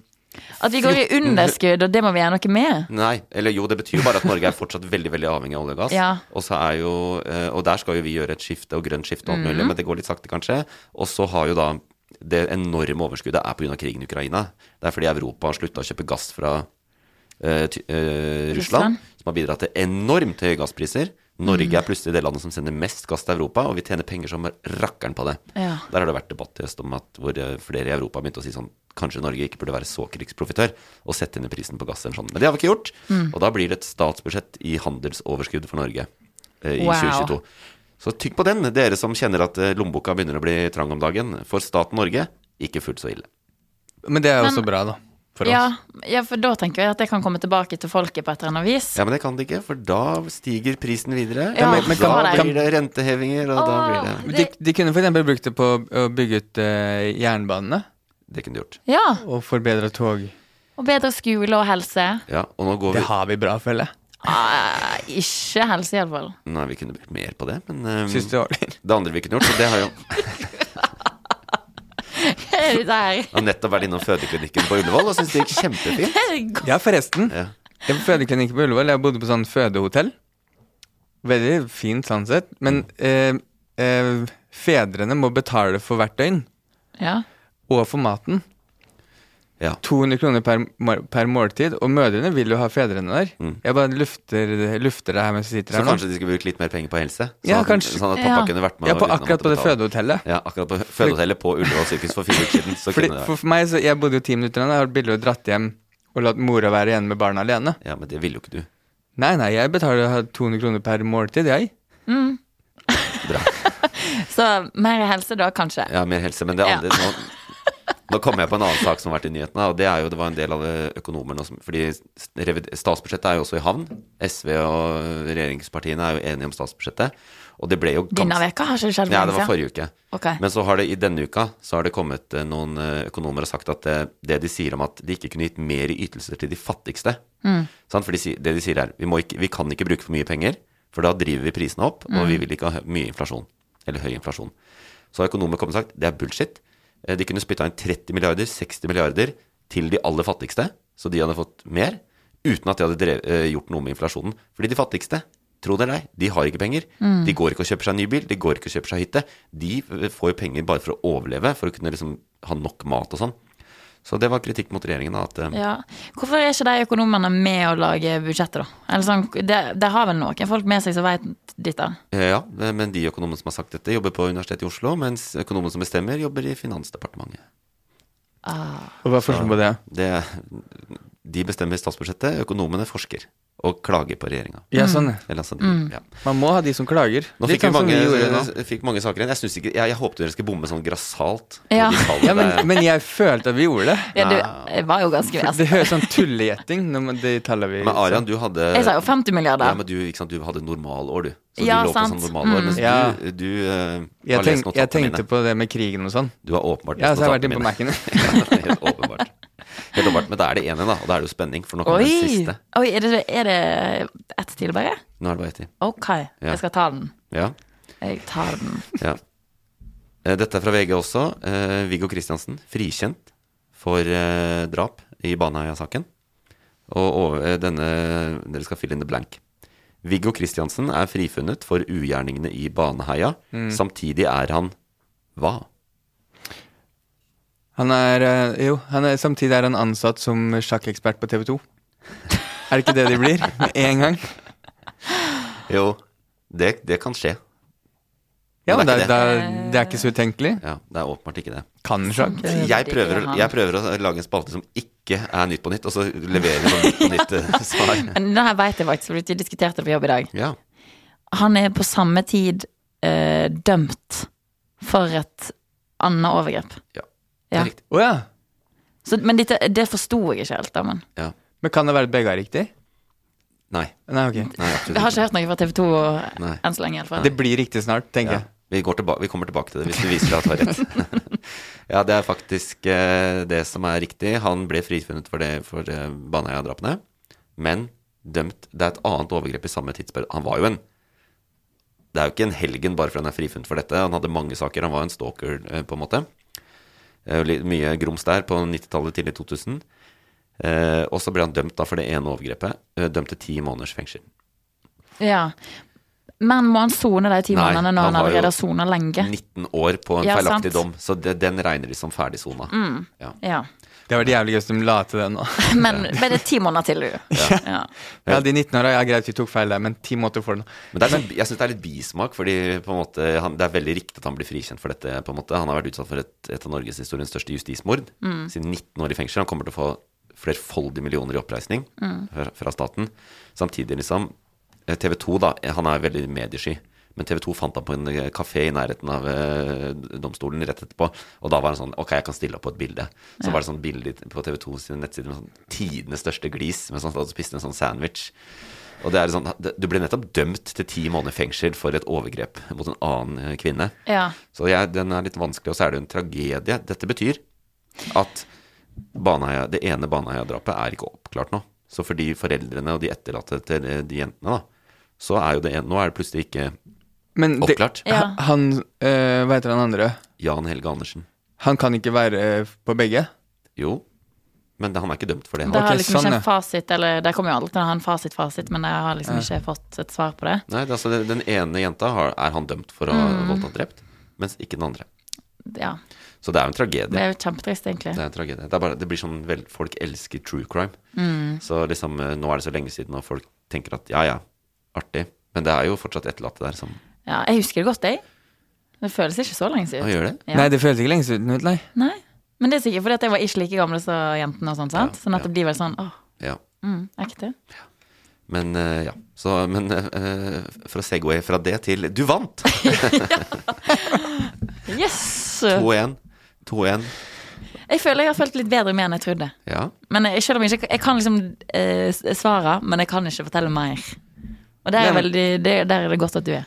S3: At vi går i underskudd, og det må vi gjøre noe med.
S1: Nei, eller jo, det betyr jo bare at Norge er fortsatt veldig veldig avhengig av olje og gass.
S3: Ja.
S1: Og, så er jo, eh, og der skal jo vi gjøre et skifte og grønt skifte og alt mulig, men det går litt sakte kanskje. Og så har jo da det enorme overskuddet er pga. krigen i Ukraina. Det er fordi Europa har slutta å kjøpe gass fra eh, ty- eh,
S3: Russland.
S1: Russland, som har bidratt til enormt høye gasspriser. Norge er plutselig det landet som sender mest gass til Europa, og vi tjener penger som rakkeren på det.
S3: Ja.
S1: Der har det vært debatt i høst om at hvor eh, flere i Europa begynte å si sånn Kanskje Norge ikke burde være så krigsprofitør og sette ned prisen på gass enn sånn. Men det har vi ikke gjort. Og da blir det et statsbudsjett i handelsoverskudd for Norge eh, i
S3: Wow.
S1: 2022. Så tygg på den, dere som kjenner at eh, lommeboka begynner å bli trang om dagen. For staten Norge, ikke fullt så ille.
S2: Men det er jo
S3: Men-
S2: også bra, da. For
S3: Ja,
S2: oss.
S3: ja, for da tenker jeg at det kan komme tilbake til folket på et eller annet vis.
S1: Ja, men det kan det ikke, for da stiger prisen videre.
S3: Ja,
S1: og
S3: men
S1: da
S3: kan-
S1: blir det rentehevinger, og da blir det
S2: De, de kunne f.eks. brukt det på å bygge ut eh, jernbanene
S1: Det kunne du gjort.
S3: Ja,
S2: og forbedre tog.
S3: og bedre skole og helse.
S1: Ja, og nå går
S2: Det
S1: vi
S2: har vi bra, føler jeg.
S3: Ah, ikke helse, iallfall.
S1: Nei, vi kunne brukt mer på det, men eh,
S2: Syns du det var litt
S1: det andre vi kunne gjort, og det har jo
S3: *laughs* Det er litt her.
S1: Jeg har nettopp vært innom fødeklinikken på Ullevål og syns det gikk kjempefint.
S2: Ja, forresten.
S1: Ja.
S2: Jeg var på fødeklinikk på Ullevål. Jeg bodde på sånn fødehotell. Veldig fint sånn sett. Men eh, eh, fedrene må betale for hvert døgn.
S3: Ja.
S2: Og for maten.
S1: Ja.
S2: 200 kroner per, må- per måltid. Og mødrene vil jo ha fedrene der. Jeg bare lufter, lufter det her mens vi sitter
S1: Mm.
S2: her
S1: Så kanskje
S2: nå.
S1: de skulle brukt litt mer penger på helse? Sånn,
S2: Ja,
S1: at-
S2: kanskje.
S1: sånn at pappa
S3: Ja.
S1: kunne vært med
S2: Ja, på,
S1: uten å måtte
S2: akkurat på det
S1: betale.
S2: fødehotellet.
S1: Ja, akkurat på fødehotellet på Ullevål sykehus for fire uker siden. Så
S2: Fordi,
S1: kunne det
S2: for,
S1: vært.
S2: for meg, så, Jeg bodde jo ti minutter unna. Jeg hadde billig dratt hjem og latt mora være igjen med barna alene.
S1: Ja, men det ville jo ikke du.
S2: Nei, nei, jeg betaler 200 kroner per måltid, jeg.
S1: Bra.
S3: Så mer helse da, kanskje.
S1: Ja, mer helse. Men det
S3: Ja.
S1: andre nå, nå kommer jeg på en annen sak som har vært i nyhetene, og det er jo det var en del av det økonomer nå som Fordi revid- statsbudsjettet er jo også i havn. SV og regjeringspartiene er jo enige om statsbudsjettet. Og det ble jo
S3: Denne
S1: gans-
S3: veka har ikke skjedd
S1: Ja,
S3: for
S1: det
S3: lenge
S1: var
S3: siden.
S1: forrige uke.
S3: Ok.
S1: Men så har det i denne uka så har det kommet eh, noen eh, økonomer og sagt at eh, det de sier om at de ikke kunne gitt mer i ytelser til de fattigste sant? For de, sier- det de sier er vi, må ikke, vi kan ikke bruke for mye penger, for da driver vi prisene opp, og vi vil ikke ha hø- mye inflasjon. Eller høy inflasjon. Så har økonomer kommet og sagt det er bullshit. Eh, De kunne spytta inn 30 milliarder, 60 milliarder til de aller fattigste, så de hadde fått mer, uten at de hadde drev, eh, gjort noe med inflasjonen. Fordi de fattigste, tro det eller ei, de har ikke penger. De går ikke og kjøper seg en ny bil, de går ikke og kjøper seg hytte. De eh, får jo penger bare for å overleve, for å kunne liksom ha nok mat og sånn. Så det var kritikk mot regjeringen, da. At, eh,
S3: Ja. Hvorfor er ikke de økonomene med å lage budsjettet, da? Eller sånn, det, det har vel noen folk med seg som veit dette.
S1: eh, ja, eh, men de økonomene som har sagt dette, jobber på Universitetet i Oslo, mens økonomene som bestemmer, jobber i Finansdepartementet.
S2: Og hva er forskjellen på det?
S1: Det, de bestemmer statsbudsjettet, økonomene forsker og klager på regjeringa.
S2: Ja, sånn. ja.
S1: Eller altså, de, ja.
S2: Man må ha de som klager.
S1: Nå
S2: Litt
S1: fikk vi
S2: sånn som
S1: mange, eh,
S2: vi gjorde nå.
S1: fikk mange saker igjen. Jeg, synes ikke, jeg, jeg håpet dere skulle bomme sånn grassat. på
S3: Ja.
S1: de tallene.
S2: Ja,
S1: *laughs*
S2: men, men jeg følte at vi gjorde det.
S3: Ja, altså. du, det var jo ganske
S2: Det
S3: vesentlig.
S2: høres sånn tullegjetting når man, de tallene vi
S1: men Arian, du hadde
S3: Jeg sa jo 50
S1: ja,
S3: milliarder.
S1: men du, ikke sant, du hadde normalår, du. Så
S3: Ja,
S1: du lå
S3: sant.
S1: på sånn normalår. Mens
S2: Ja.
S1: du, du eh,
S2: jeg,
S1: har lest
S2: tenk, jeg
S1: notatene
S2: tenkte
S1: mine.
S2: på det med krigen og sånn.
S1: Du har åpenbart
S2: Ja, så jeg har vært
S1: notatene
S2: inne på
S1: mine.
S2: Mac-en.
S1: *laughs* Ja, Helt åpenbart. Helt åpenbart. Men da er det ene, da. Og da er det jo spenning, for nå kommer
S3: Oi!
S1: den siste.
S3: Oi, er det, er det ett til, bare?
S1: Nå er det bare ett til.
S3: Ok, jeg skal ta den.
S1: Ja.
S3: Jeg tar den.
S1: Ja. Eh, Dette er fra VG også. Eh, Viggo Kristiansen, frikjent for eh, drap i Baneheia-saken. Og over, eh, denne Dere skal fill in the blank. Viggo Kristiansen er frifunnet for ugjerningene i Baneheia. Samtidig er han hva?
S2: Han er, eh, jo, han er, samtidig er han ansatt som sjakkekspert på TV 2. Er det ikke det de blir? Med en gang?
S1: Jo, det, det kan skje.
S2: Ja,
S1: Men
S2: men
S1: det
S2: det
S1: er
S2: er, det, er, det er ikke så utenkelig.
S1: Ja, det er åpenbart ikke det.
S2: Kan sjakk.
S1: Jeg prøver, å- jeg prøver å lage en spalte som ikke er Nytt på nytt, og så leverer jeg Nytt på nytt eh, svar.
S3: Men det her vet jeg faktisk, for vi diskuterte det på jobb i dag.
S1: Ja.
S3: Han er på samme tid eh, dømt for et annet overgrep.
S1: Ja.
S3: Ja.
S1: Det er riktig.
S2: Å ja.
S3: Så, men dette, det forsto jeg ikke helt. Da, men.
S1: Ja.
S2: Men kan det være at begge er riktig?
S1: Nei.
S2: Nei, ok.
S1: Nei, absolutt
S3: Jeg har ikke hørt noe fra TV 2
S1: Nei.
S3: enn så lenge. i hvert fall.
S2: Det blir riktig snart, tenker
S1: Ja. Vi, går tilba vi kommer tilbake til det hvis du viser deg at du har rett. *laughs* ja, det er faktisk eh, det som er riktig. Han ble frifunnet for, det, for eh, Baneheia-drapene, men dømt Det er et annet overgrep i samme tidsperiode. Han var jo en Det er jo ikke en helgen bare fordi han er frifunnet for dette. Han hadde mange saker. Han var en stalker, eh, på en måte. Eh, litt mye grums der på 90-tallet, tidlig 2000. Eh, og så ble han dømt da for det ene overgrepet. Eh, dømt til ti måneders fengsel.
S3: Ja. Men må han sone de ti
S1: Nei,
S3: månedene når
S1: han
S3: han
S1: har jo
S3: allerede har sona lenge?
S1: 19 år på en
S3: Ja,
S1: feilaktig
S3: sant. Mm.
S1: dom, så det, den regner de som ferdig sona. Ja.
S3: Ja. *laughs*
S2: jeg. Det var jævlig gøy hvis de la til det nå.
S3: Men men det er ti måneder til, du. Ja.
S2: Ja, de 19 åra, ja, greit, vi tok feil der, men ti måneder for det nå.
S1: Men det er, sånn- jeg syns det er litt bismak, fordi på en måte, han, det er veldig riktig at han blir frikjent for dette. på en måte. Han har vært utsatt for et, et av norgeshistoriens største justismord. Siden 19 år i fengsel. Han kommer til å få flerfoldige millioner i oppreisning fra, fra staten. Samtidig, liksom TV 2, da, han er veldig mediesky. Men TV 2 fant ham på en eh, kafé i nærheten av eh, domstolen rett etterpå. Og da var han sånn Ok, jeg kan stille opp på et bilde. Så var det sånn bilde på TV 2 sine nettsider med sånn tidenes største glis mens han satt og spiste en sånn sandwich. Og det er sånn, Du ble nettopp dømt til ti måneder fengsel for et overgrep mot en annen eh, kvinne.
S3: Ja.
S1: Så jeg, den er litt vanskelig, og så er det jo en tragedie. Dette betyr at Baneheia, det ene Baneheia-drapet er ikke oppklart nå. Så for de foreldrene og de etterlatte til eh, de jentene, da, så er jo det en, Nå er det plutselig ikke
S2: Men det,
S1: oppklart.
S3: Ja.
S2: han- han eh, Hva heter han andre?
S1: Jan Helge Andersen.
S2: Han kan ikke være eh, på begge?
S1: Jo, men han er ikke dømt for det.
S3: Det
S1: Han.
S3: har
S2: Ok,
S3: liksom ikke
S2: sånn,
S3: en
S2: ja.
S3: fasit, eller det kommer jo alltid til å ha en fasit-fasit, men jeg har liksom ikke fått et svar på det.
S1: Nei, det er altså, Den ene jenta har, er han dømt for å ha voldtatt drept, mens ikke den andre.
S3: Ja,
S1: Så det er jo en tragedie.
S3: Det er jo kjempetrist, egentlig.
S1: Det er en tragedie. Det, er bare, det blir sånn vel, Folk elsker true crime. Så liksom, eh, nå er det så lenge siden, og folk tenker at ja, ja, artig. Men det er jo fortsatt etterlatte der som
S3: Ja, jeg husker det godt, jeg. Det føles ikke så lenge
S1: Å,
S3: siden.
S1: gjør det?
S3: Ja.
S2: Nei, det føles ikke lenge siden ut, nei.
S3: Nei. Men det er sikkert fordi at jeg var ikke like gammel som jentene og sånn, sant?
S1: Ja,
S3: Sånn at det blir vel sånn åh,
S1: Ja.
S3: mm, ekte.
S1: Men eh, ja. Så, men eh, eh, for å segway fra det til Du vant!
S3: Yes!
S1: 2-1. 2-1.
S2: e-
S3: Jeg føler jeg har følt litt bedre med enn jeg trodde.
S1: Ja.
S3: Men jeg, selv om jeg ikke Jeg kan liksom eh, s- svare, men jeg kan ikke fortelle mer. Og der er,
S2: Nei, men-
S3: veldig, det, der er det godt at du er.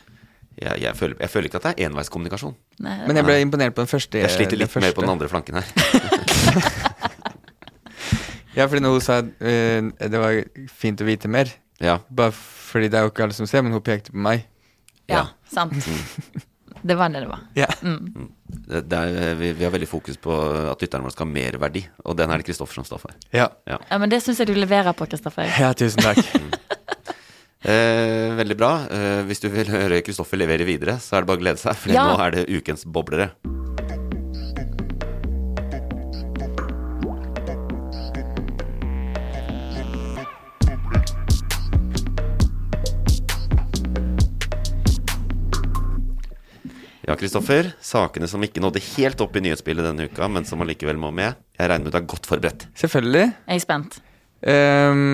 S1: Jeg, jeg, føler, jeg føler ikke at det er enveiskommunikasjon.
S3: Nei,
S2: Men jeg ble imponert på den første.
S1: Jeg sliter litt mer på den
S2: første.
S1: andre flanken her. *laughs*
S2: Ja, fordi når hun sa eh, det var fint å vite mer,
S1: Ja.
S2: bare fordi det er jo ikke alle som ser, men hun pekte på meg.
S3: ja,
S2: *laughs*
S3: sant. Det var det det var. Mm.
S2: Ja.
S1: Det, det er, eh, vi, vi har veldig fokus på at lytterne våre skal ha mer verdi, og den er det Kristoffer som står for.
S2: ja.
S3: Ja, men det syns jeg du leverer på, Kristoffer.
S2: Ja, tusen
S1: *laughs*
S2: takk.
S1: Mm. Eh, veldig bra. Eh, hvis du vil høre Kristoffer levere videre, så er det bare å glede seg, for
S3: Ja.
S1: nå er det ukens boblere. Ja, Kristoffer. Sakene som ikke nådde helt opp i nyhetsbildet denne uka, men som allikevel må med. Jeg regner med du er godt forberedt.
S2: Selvfølgelig.
S3: Jeg er spent.
S2: Ehm,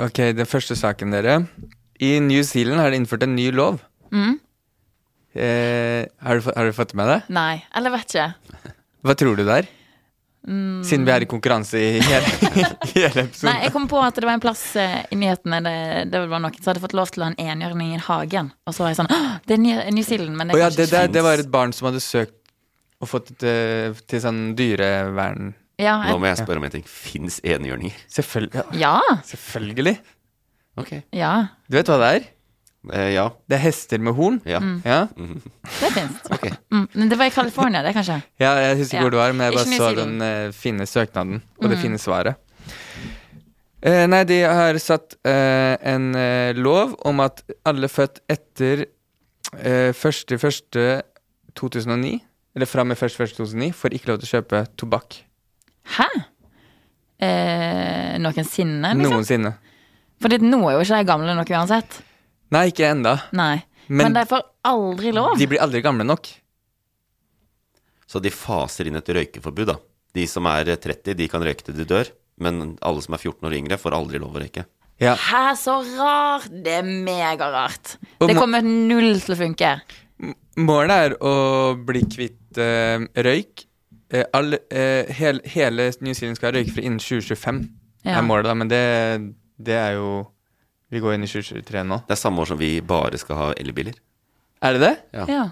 S2: Ok, den første saken, dere. I New Zealand har de innført en ny lov.
S3: Mm.
S2: Eh, har, du, fått- har du fått med det?
S3: Nei. Eller vet ikke.
S2: Hva tror du det er? Siden vi er i konkurranse i *laughs* hele, hele
S3: Mm. Nei,
S2: episoden.
S3: Jeg kom på at det var en plass eh, i nyhetene det, det var noen som hadde fått lov til å ha en enhjørning i hagen. Og så var jeg sånn «Åh, Det er Ny- New Zealand, men det
S2: Å
S3: er
S2: ja,
S3: kanskje
S2: det, det,
S3: ikke
S2: det var et barn som hadde søkt og fått eh, til sånn dyrevern.
S3: ja,
S1: Nå
S3: jeg,
S1: må jeg spørre om en ting. Fins enhjørninger?
S2: Selvfølgelig. Ja,
S3: ja,
S2: selvfølgelig.
S1: Ok.
S3: ja.
S2: Du vet hva det er?
S1: Eh, ja.
S2: Det er hester med horn.
S1: Ja.
S3: Mm.
S2: Ja,
S3: Det fins.
S2: *laughs*
S1: Ok.
S3: Mm, men det var i California, det, kanskje.
S2: ja jeg husker
S3: Ja.
S2: hvor det var, men jeg
S3: Ikke Mhm.
S2: bare
S3: New
S2: så den eh,
S3: Zealand.
S2: fine søknaden og det fine svaret. Eh, nei, de har satt eh, en eh, lov om at alle født etter eh, 1.1.2009, eller fra og med 1.1.2009, får ikke lov til å kjøpe tobakk
S3: Hæ? Eh, noensinne, liksom?
S2: noensinne.
S3: Fordi nå er jo ikke de gamle nok uansett.
S2: Nei, ikke enda.
S3: Nei. Men,
S2: Men-
S3: de får aldri lov.
S2: De blir aldri gamle nok.
S1: Så de faser inn et røykeforbud, da. De som er 30, de kan røyke til de dør. Men alle som er 14 år yngre, får aldri lov å røyke.
S2: Ja.
S3: Hæ, så rart! Det er megarart.
S2: Og
S3: Det
S2: ma-
S3: kommer null til å funke.
S2: Målet er å bli kvitt eh, røyk. Eh, all, eh, hel, hele New Zealand skal være røykfri innen 2025,
S3: Ja.
S2: er målet, da. Men det, det er jo Vi går inn i 2023 nå.
S1: Det er samme år som vi bare skal ha elbiler.
S2: Er det det?
S1: Ja.
S3: Ja.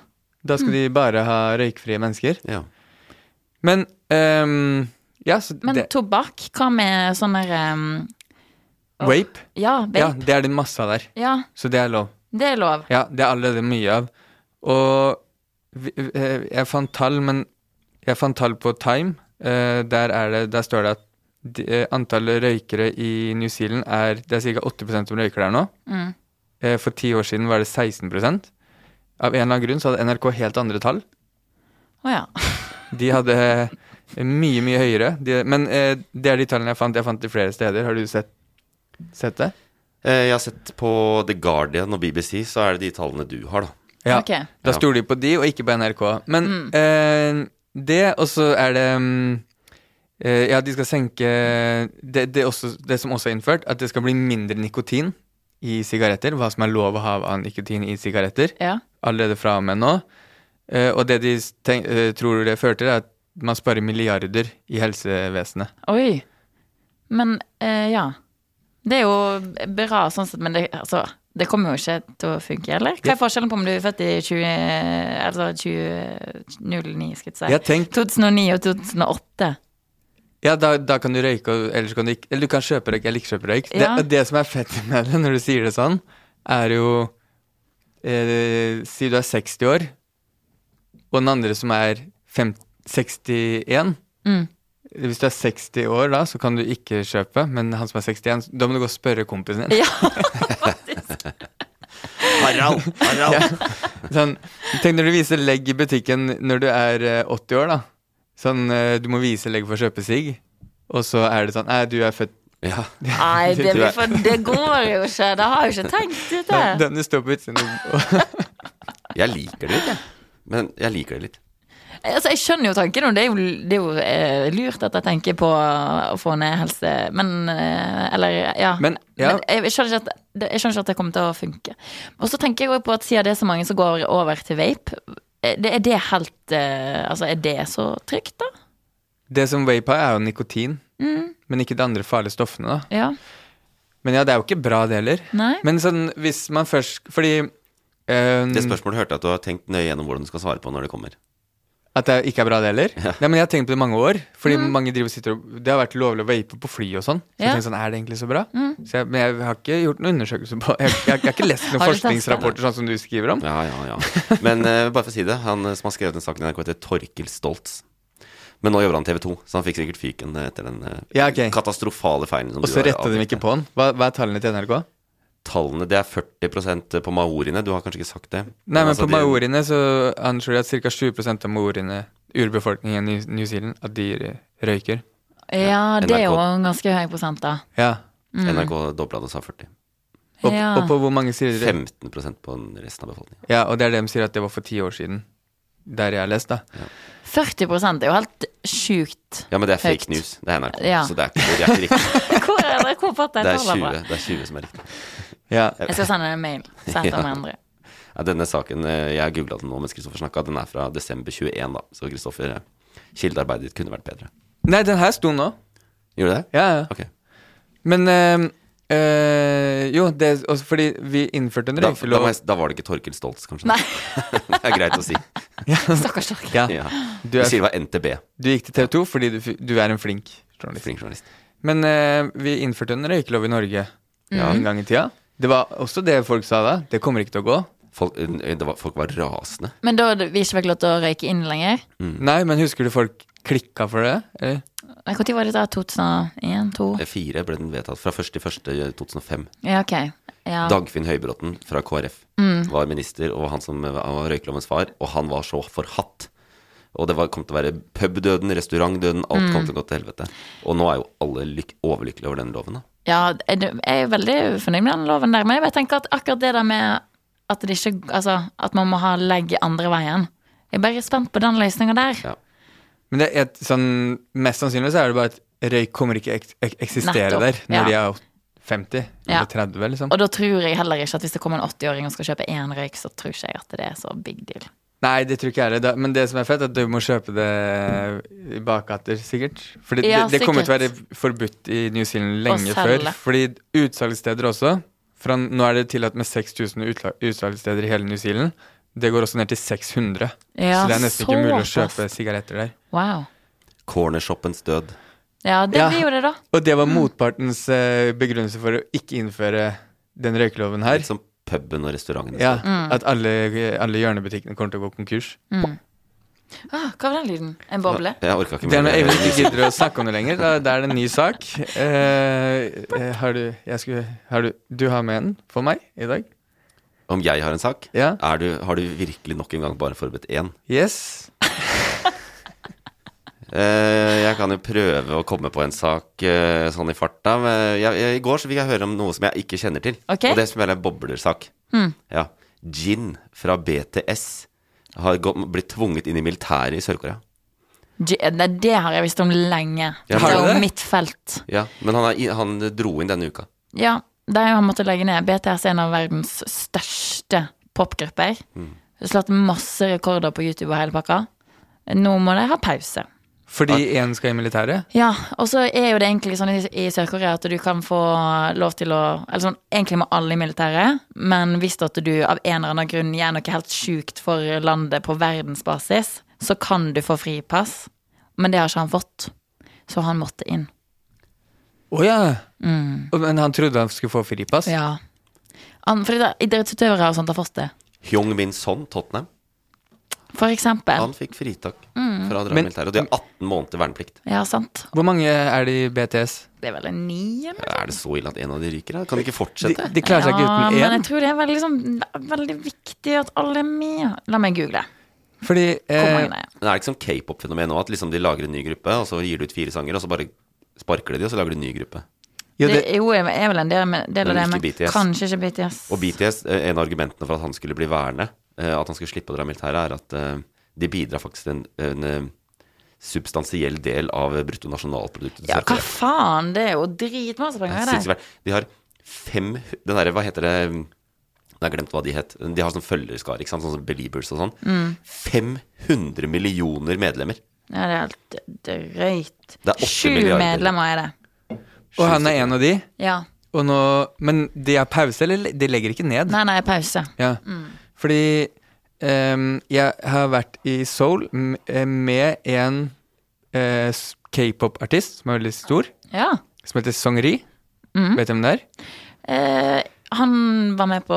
S2: Da skal de bare ha røykfrie mennesker.
S1: Ja.
S2: Men ehm, Ja, så
S3: Men
S2: det,
S3: tobakk, hva med sånn der ehm,
S2: Vape?
S3: Ja,
S2: Ja,
S3: vape.
S2: det er det masse av der.
S3: Ja,
S2: Så det er lov.
S3: det er lov.
S2: Ja, det er allerede mye av. Og vi- eh, jeg fant tall, men jeg fant tall på Time. Eh, Der, er det, der står det at de- eh, antallet røykere i New Zealand er Det er ca. 8 som røyker der nå.
S3: Mm.
S2: Eh, For ti år siden var det 16 Av en eller annen grunn så hadde NRK helt andre tall.
S3: Å ja.
S2: De hadde eh, mye, mye høyere. De, men eh, det er de tallene jeg fant. Jeg fant de flere steder. Har du sett, sett det?
S1: Eh, Jeg har sett på The Guardian og BBC, så er det de tallene du har, da.
S2: Ja,
S3: Ok.
S2: Da
S1: Ja.
S2: stoler de på de, og ikke på NRK. Men eh, det, og så er det mm, eh, Ja, de skal senke det, det, er også, det som også er innført, at det skal bli mindre nikotin i sigaretter. Hva som er lov å ha av nikotin i sigaretter.
S3: Ja.
S2: Allerede fra og med nå. Eh, og det de tenk, eh, tror det fører til, er at man sparer milliarder i helsevesenet.
S3: Oi. Men eh, ja. Det er jo bra sånn sett, men det, altså, det kommer jo ikke til å funke, eller? Hva er forskjellen på om du er født i 20... Altså 2009, skal jeg si.
S2: Jeg tenk-
S3: 2009
S2: *laughs*
S3: og 2008.
S2: Ja, da, da kan du røyke, og ellers kan du ikke Eller du kan kjøpe røyk eller ikke kjøpe røyk.
S3: Ja.
S2: Det, det som er fett med det, når du sier det sånn, er jo eh, Si du er 60 år, og den andre som er fem, 61
S3: Mm.
S2: Hvis du er 60 år da, så kan du ikke kjøpe, men han som er 61, da må du gå og spørre kompisen din.
S3: Ja, faktisk.
S1: Harald!
S2: *laughs*
S1: Harald!
S2: Sånn, tenk når du viser legg i butikken når du er eh, 80 år, da. Sånn, eh, du må vise legg for å kjøpe sigg, og så er det sånn Nei, du er født
S1: *laughs* Ja.
S3: Nei, det,
S1: Du er-
S3: blir for, det går jo ikke. Det har jeg jo ikke tenkt ut,
S2: Den,
S3: det.
S2: den du står på utsiden og
S1: Jeg liker det litt, jeg. Men jeg liker det litt.
S3: Altså, jeg skjønner jo tanken, og det er jo, det er jo eh, lurt at jeg tenker på å få ned helse... Men eh, Eller, ja.
S2: Men, ja.
S3: jeg, jeg, skjønner ikke at, det- jeg skjønner ikke at det kommer til å funke. Og så tenker jeg også på at siden det er så mange som går over til vape, eh, det, er det helt eh, Altså, er det så trygt, da?
S2: *laughs* Det som vape har, er jo nikotin,
S3: Mm.
S2: men ikke de andre farlige stoffene. da
S3: Ja.
S2: Men ja, det er jo ikke bra, det heller.
S3: Nei.
S2: Men sånn, hvis man først Fordi eh,
S1: Det spørsmålet hørte jeg at du har tenkt nøye gjennom hvordan du skal svare på når det kommer.
S2: At det ikke er bra, det heller? Nei, men Jeg har tenkt på det i mange år. Fordi mange driver og sitter og Det har vært lovlig å vape på fly og sånn. Så
S3: Mm. Ja. Mm.
S2: jeg tenkte sånn, er det egentlig så bra? Så jeg, men jeg har ikke gjort noen undersøkelser på Jeg, jeg, jeg har
S3: *laughs*
S2: ikke lest noen
S3: Har du testet?
S2: forskningsrapporter sånn som du skriver om.
S1: Ja, ja, ja. Men eh, bare for å si det, han eh, som har skrevet den saken i NRK, heter Torkil Stoltz. Men nå jobber han i TV 2, så han fikk sikkert fyken eh, etter den eh,
S2: Ja, ok.
S1: katastrofale feilen. som
S2: Og så
S1: du har
S2: retta de ikke
S1: avdekket.
S2: på den. Hva, hva er tallene til NRK?
S1: Tallene, det er 40 på maoriene. Du har kanskje ikke sagt det?
S2: Nei, men
S1: altså,
S2: på
S1: de-
S2: maoriene så anslår de at ca. 20 av maoriene, urbefolkningen i New- New Zealand, at de eh, røyker.
S3: ja, det er jo
S1: NRK.
S3: en ganske høy prosent, da.
S2: Ja. Mm.
S1: NRK dobla det og sa 40.
S2: Og,
S3: Ja.
S2: og på hvor mange sier de
S1: 15 på den resten av befolkningen.
S2: Ja, og det er det de sier at det var for ti år siden. Der jeg har lest, da.
S3: 40 er jo helt sjukt.
S1: Ja, men det er fake
S3: Høyt.
S1: news. Det er NRK,
S3: Ja.
S1: så det er ikke, det er ikke riktig.
S3: *laughs* Hvor er det? Hvor fatter
S1: Det
S3: jeg
S1: er, 20,
S3: tallet fra?
S1: det er 20 som er riktig.
S2: Ja.
S3: Jeg skal sende en mail.
S2: *laughs*
S3: Sett om andre.
S1: Ja, denne saken, eh, Jeg googla den nå mens Kristoffer snakka. Den er fra desember 21, da. Så Kristoffer, eh, kildearbeidet ditt kunne vært bedre.
S2: Nei, den her sto nå.
S1: Gjorde det?
S2: Ja, ja.
S1: Ok.
S2: Men eh, eh, Jo, det er også fordi vi innførte en
S1: Da, da,
S2: røykelov.
S1: må jeg, da var det ikke Torkil Stoltz, kanskje.
S3: Nei,
S1: *laughs* Det er greit å
S2: *laughs*
S1: si.
S3: stakkars Tork.
S2: ja.
S1: Ja.
S2: Du,
S1: Vi
S2: er,
S1: sier det var NTB.
S2: du gikk til TV 2 fordi du, fi- du er en flink journalist.
S1: Flink journalist.
S2: Men eh, vi innførte en røykelov i Norge
S1: Ja.
S2: en gang i tida. Det var også det folk sa da. Det kommer ikke til å gå.
S1: Folk, eh, det var, folk var rasende.
S3: Men da hadde vi ikke fikk lov til å røyke inn lenger?
S2: Nei, men husker du folk klikka for det? Eller?
S3: Nei, Når var det da? 2001? 2002?
S1: Eh, Fire ble den vedtatt fra 1.1.2005.
S3: Ja, ok. Ja.
S1: Dagfinn Høybråten fra KrF
S2: Mm.
S1: var minister, og han som var han var røykelovens far, og han var så forhatt. Og det var, kom til å være pubdøden, restaurantdøden, alt
S2: Mm.
S1: kom til å gå til helvete. Og nå er jo alle lyk overlykkelige over den loven, da.
S3: Ja, er du- jeg er veldig fornøyd med den loven der, men jeg bare tenker at akkurat det der med at, det ikke, altså, at man må ha legg andre veien Jeg er bare spent på den løsninga der.
S1: Ja.
S2: Men det er et, sånn, mest sannsynlig så er det bare at røyk kommer ikke ek ek eksistere
S3: Nettopp,
S2: der når
S3: ja.
S2: de er 50
S3: Ja.
S2: eller 30, liksom.
S3: Og da tror jeg heller ikke at hvis det kommer en 80-åring og skal kjøpe én røyk, så tror ikke jeg at det er så big deal.
S2: Nei, det tror ikke jeg heller. Da- Men det som er fett, er at du må kjøpe det i bakgater, sikkert. For det,
S3: Ja,
S2: det, det kommer til å
S3: sikkert.
S2: være forbudt i New Zealand lenge
S3: selge.
S2: før. Fordi utsalgssteder også fra, Nå er det tillatt med 6000 utla- utsalgssteder i hele New Zealand. Det går også ned til 600.
S3: Ja,
S2: så det er nesten ikke mulig å
S3: såpass.
S2: kjøpe sigaretter der.
S3: Wow.
S1: Cornershoppens død.
S3: Ja, det
S2: Ja.
S3: blir jo det, da.
S2: Og det var motpartens eh, begrunnelse for å ikke innføre den røykeloven her.
S1: Litt som puben og restauranten.
S2: Ja, At alle, alle hjørnebutikkene kommer til å gå konkurs.
S3: Mm. Ah, hva var den lyden? En boble?
S1: Jeg orka ikke
S2: Det er når Eivind ikke
S1: mer.
S2: gidder å snakke om det lenger. Da, da er det en ny sak. Eh, eh, har du, jeg skulle, har du, du har med en for meg i dag?
S1: Om jeg har en sak?
S2: Ja.
S1: Er du, har du virkelig nok en gang bare forberedt én?
S2: Yes.
S1: Eh, jeg kan jo prøve å komme på en sak eh, sånn i farta. men Jeg, jeg, I går så fikk jeg høre om noe som jeg ikke kjenner til.
S3: Ok.
S1: Og det som er en boblersak.
S2: Hmm.
S1: Ja. Gin fra BTS har gått, blitt tvunget inn i militæret i Sør-Korea.
S3: G- eh, Nei, det har jeg visst om lenge.
S1: Ja,
S3: det
S1: har
S3: er
S2: du
S3: jo
S2: det?
S3: mitt felt.
S1: Ja, men han, er, i- han dro inn denne uka.
S3: Ja, det har han måttet legge ned. BTS er en av verdens største popgrupper. Slått masse rekorder på YouTube og hele pakka. Nå må de ha pause.
S2: Fordi én skal i militæret?
S3: Ja, og så er jo det egentlig sånn i, i Sør-Korea at du kan få lov til å Eller sånn, egentlig må alle i militæret, men hvis at du av en eller annen grunn gjør noe helt sjukt for landet på verdensbasis, så kan du få fripass. Men det har ikke han fått, så han måtte inn.
S2: Å ja. Og- Men han trodde han skulle få fripass?
S3: Mm. Ja. Han, fordi da- idrettsutøvere og sånt har fått det.
S1: Hyung Min Son, Tottenham,
S3: For eksempel.
S1: han fikk fritak fra å dra i
S2: Hmm. Men-
S1: militæret. Og de har 18 måneder verneplikt.
S3: Ja, sant.
S2: Hvor mange er det i BTS?
S3: Det er vel en ni, eller?
S1: Er det så ille at en av de ryker? da? Kan de
S2: De,
S1: ikke fortsette?
S2: de klarer seg ikke
S3: Ja, men
S2: uten
S3: jeg
S2: én.
S3: tror det er veldig, liksom, veldig viktig at alle er med. La meg google.
S2: Fordi
S3: Hvor mange
S2: eh,
S3: det er.
S1: Men er det ikke sånn k-pop-fenomen nå at liksom de lager en ny gruppe, og så gir de ut fire sanger, og så bare sparker de de, og så lager de en ny gruppe?
S2: jo,
S3: Det
S2: det,
S3: er jo jeg er vel en del, med, del av det,
S1: Men
S3: men
S1: ikke BTS.
S3: kanskje ikke BTS.
S1: Og BTS, eh, en av argumentene for at han skulle bli værende, eh, at han skulle slippe å dra i militæret, er at eh, de bidrar faktisk til en, en eh, substansiell del av bruttonasjonalproduktet. til
S3: Ja, hva
S1: Sør-Korea.
S3: faen? Det er jo dritmasse
S1: Det er
S3: penger i
S1: sinnssykt
S3: det.
S1: verdt. De har fem Den derre, hva heter det mm, Jeg har glemt hva de het.
S3: Mm.
S1: De har sånn følgerskare, ikke sant? sånn som Beliebers og sånn. 500 millioner medlemmer.
S3: Ja, det er helt drøyt.
S1: Det er åtte
S3: Sju
S1: milliarder.
S3: medlemmer er det.
S2: Og han er en av de.
S3: Ja.
S2: Og nå, men de er pause, eller le- de legger ikke ned?
S3: Nei, Mm. nei, pause.
S2: Ja. Fordi ehm, jeg har vært i Seoul m- eh, med en eh, s- k-pop-artist som er veldig stor,
S3: Ja.
S2: som heter Songri.
S3: Mm.
S2: Vet du hvem det er?
S3: Eh, han var med på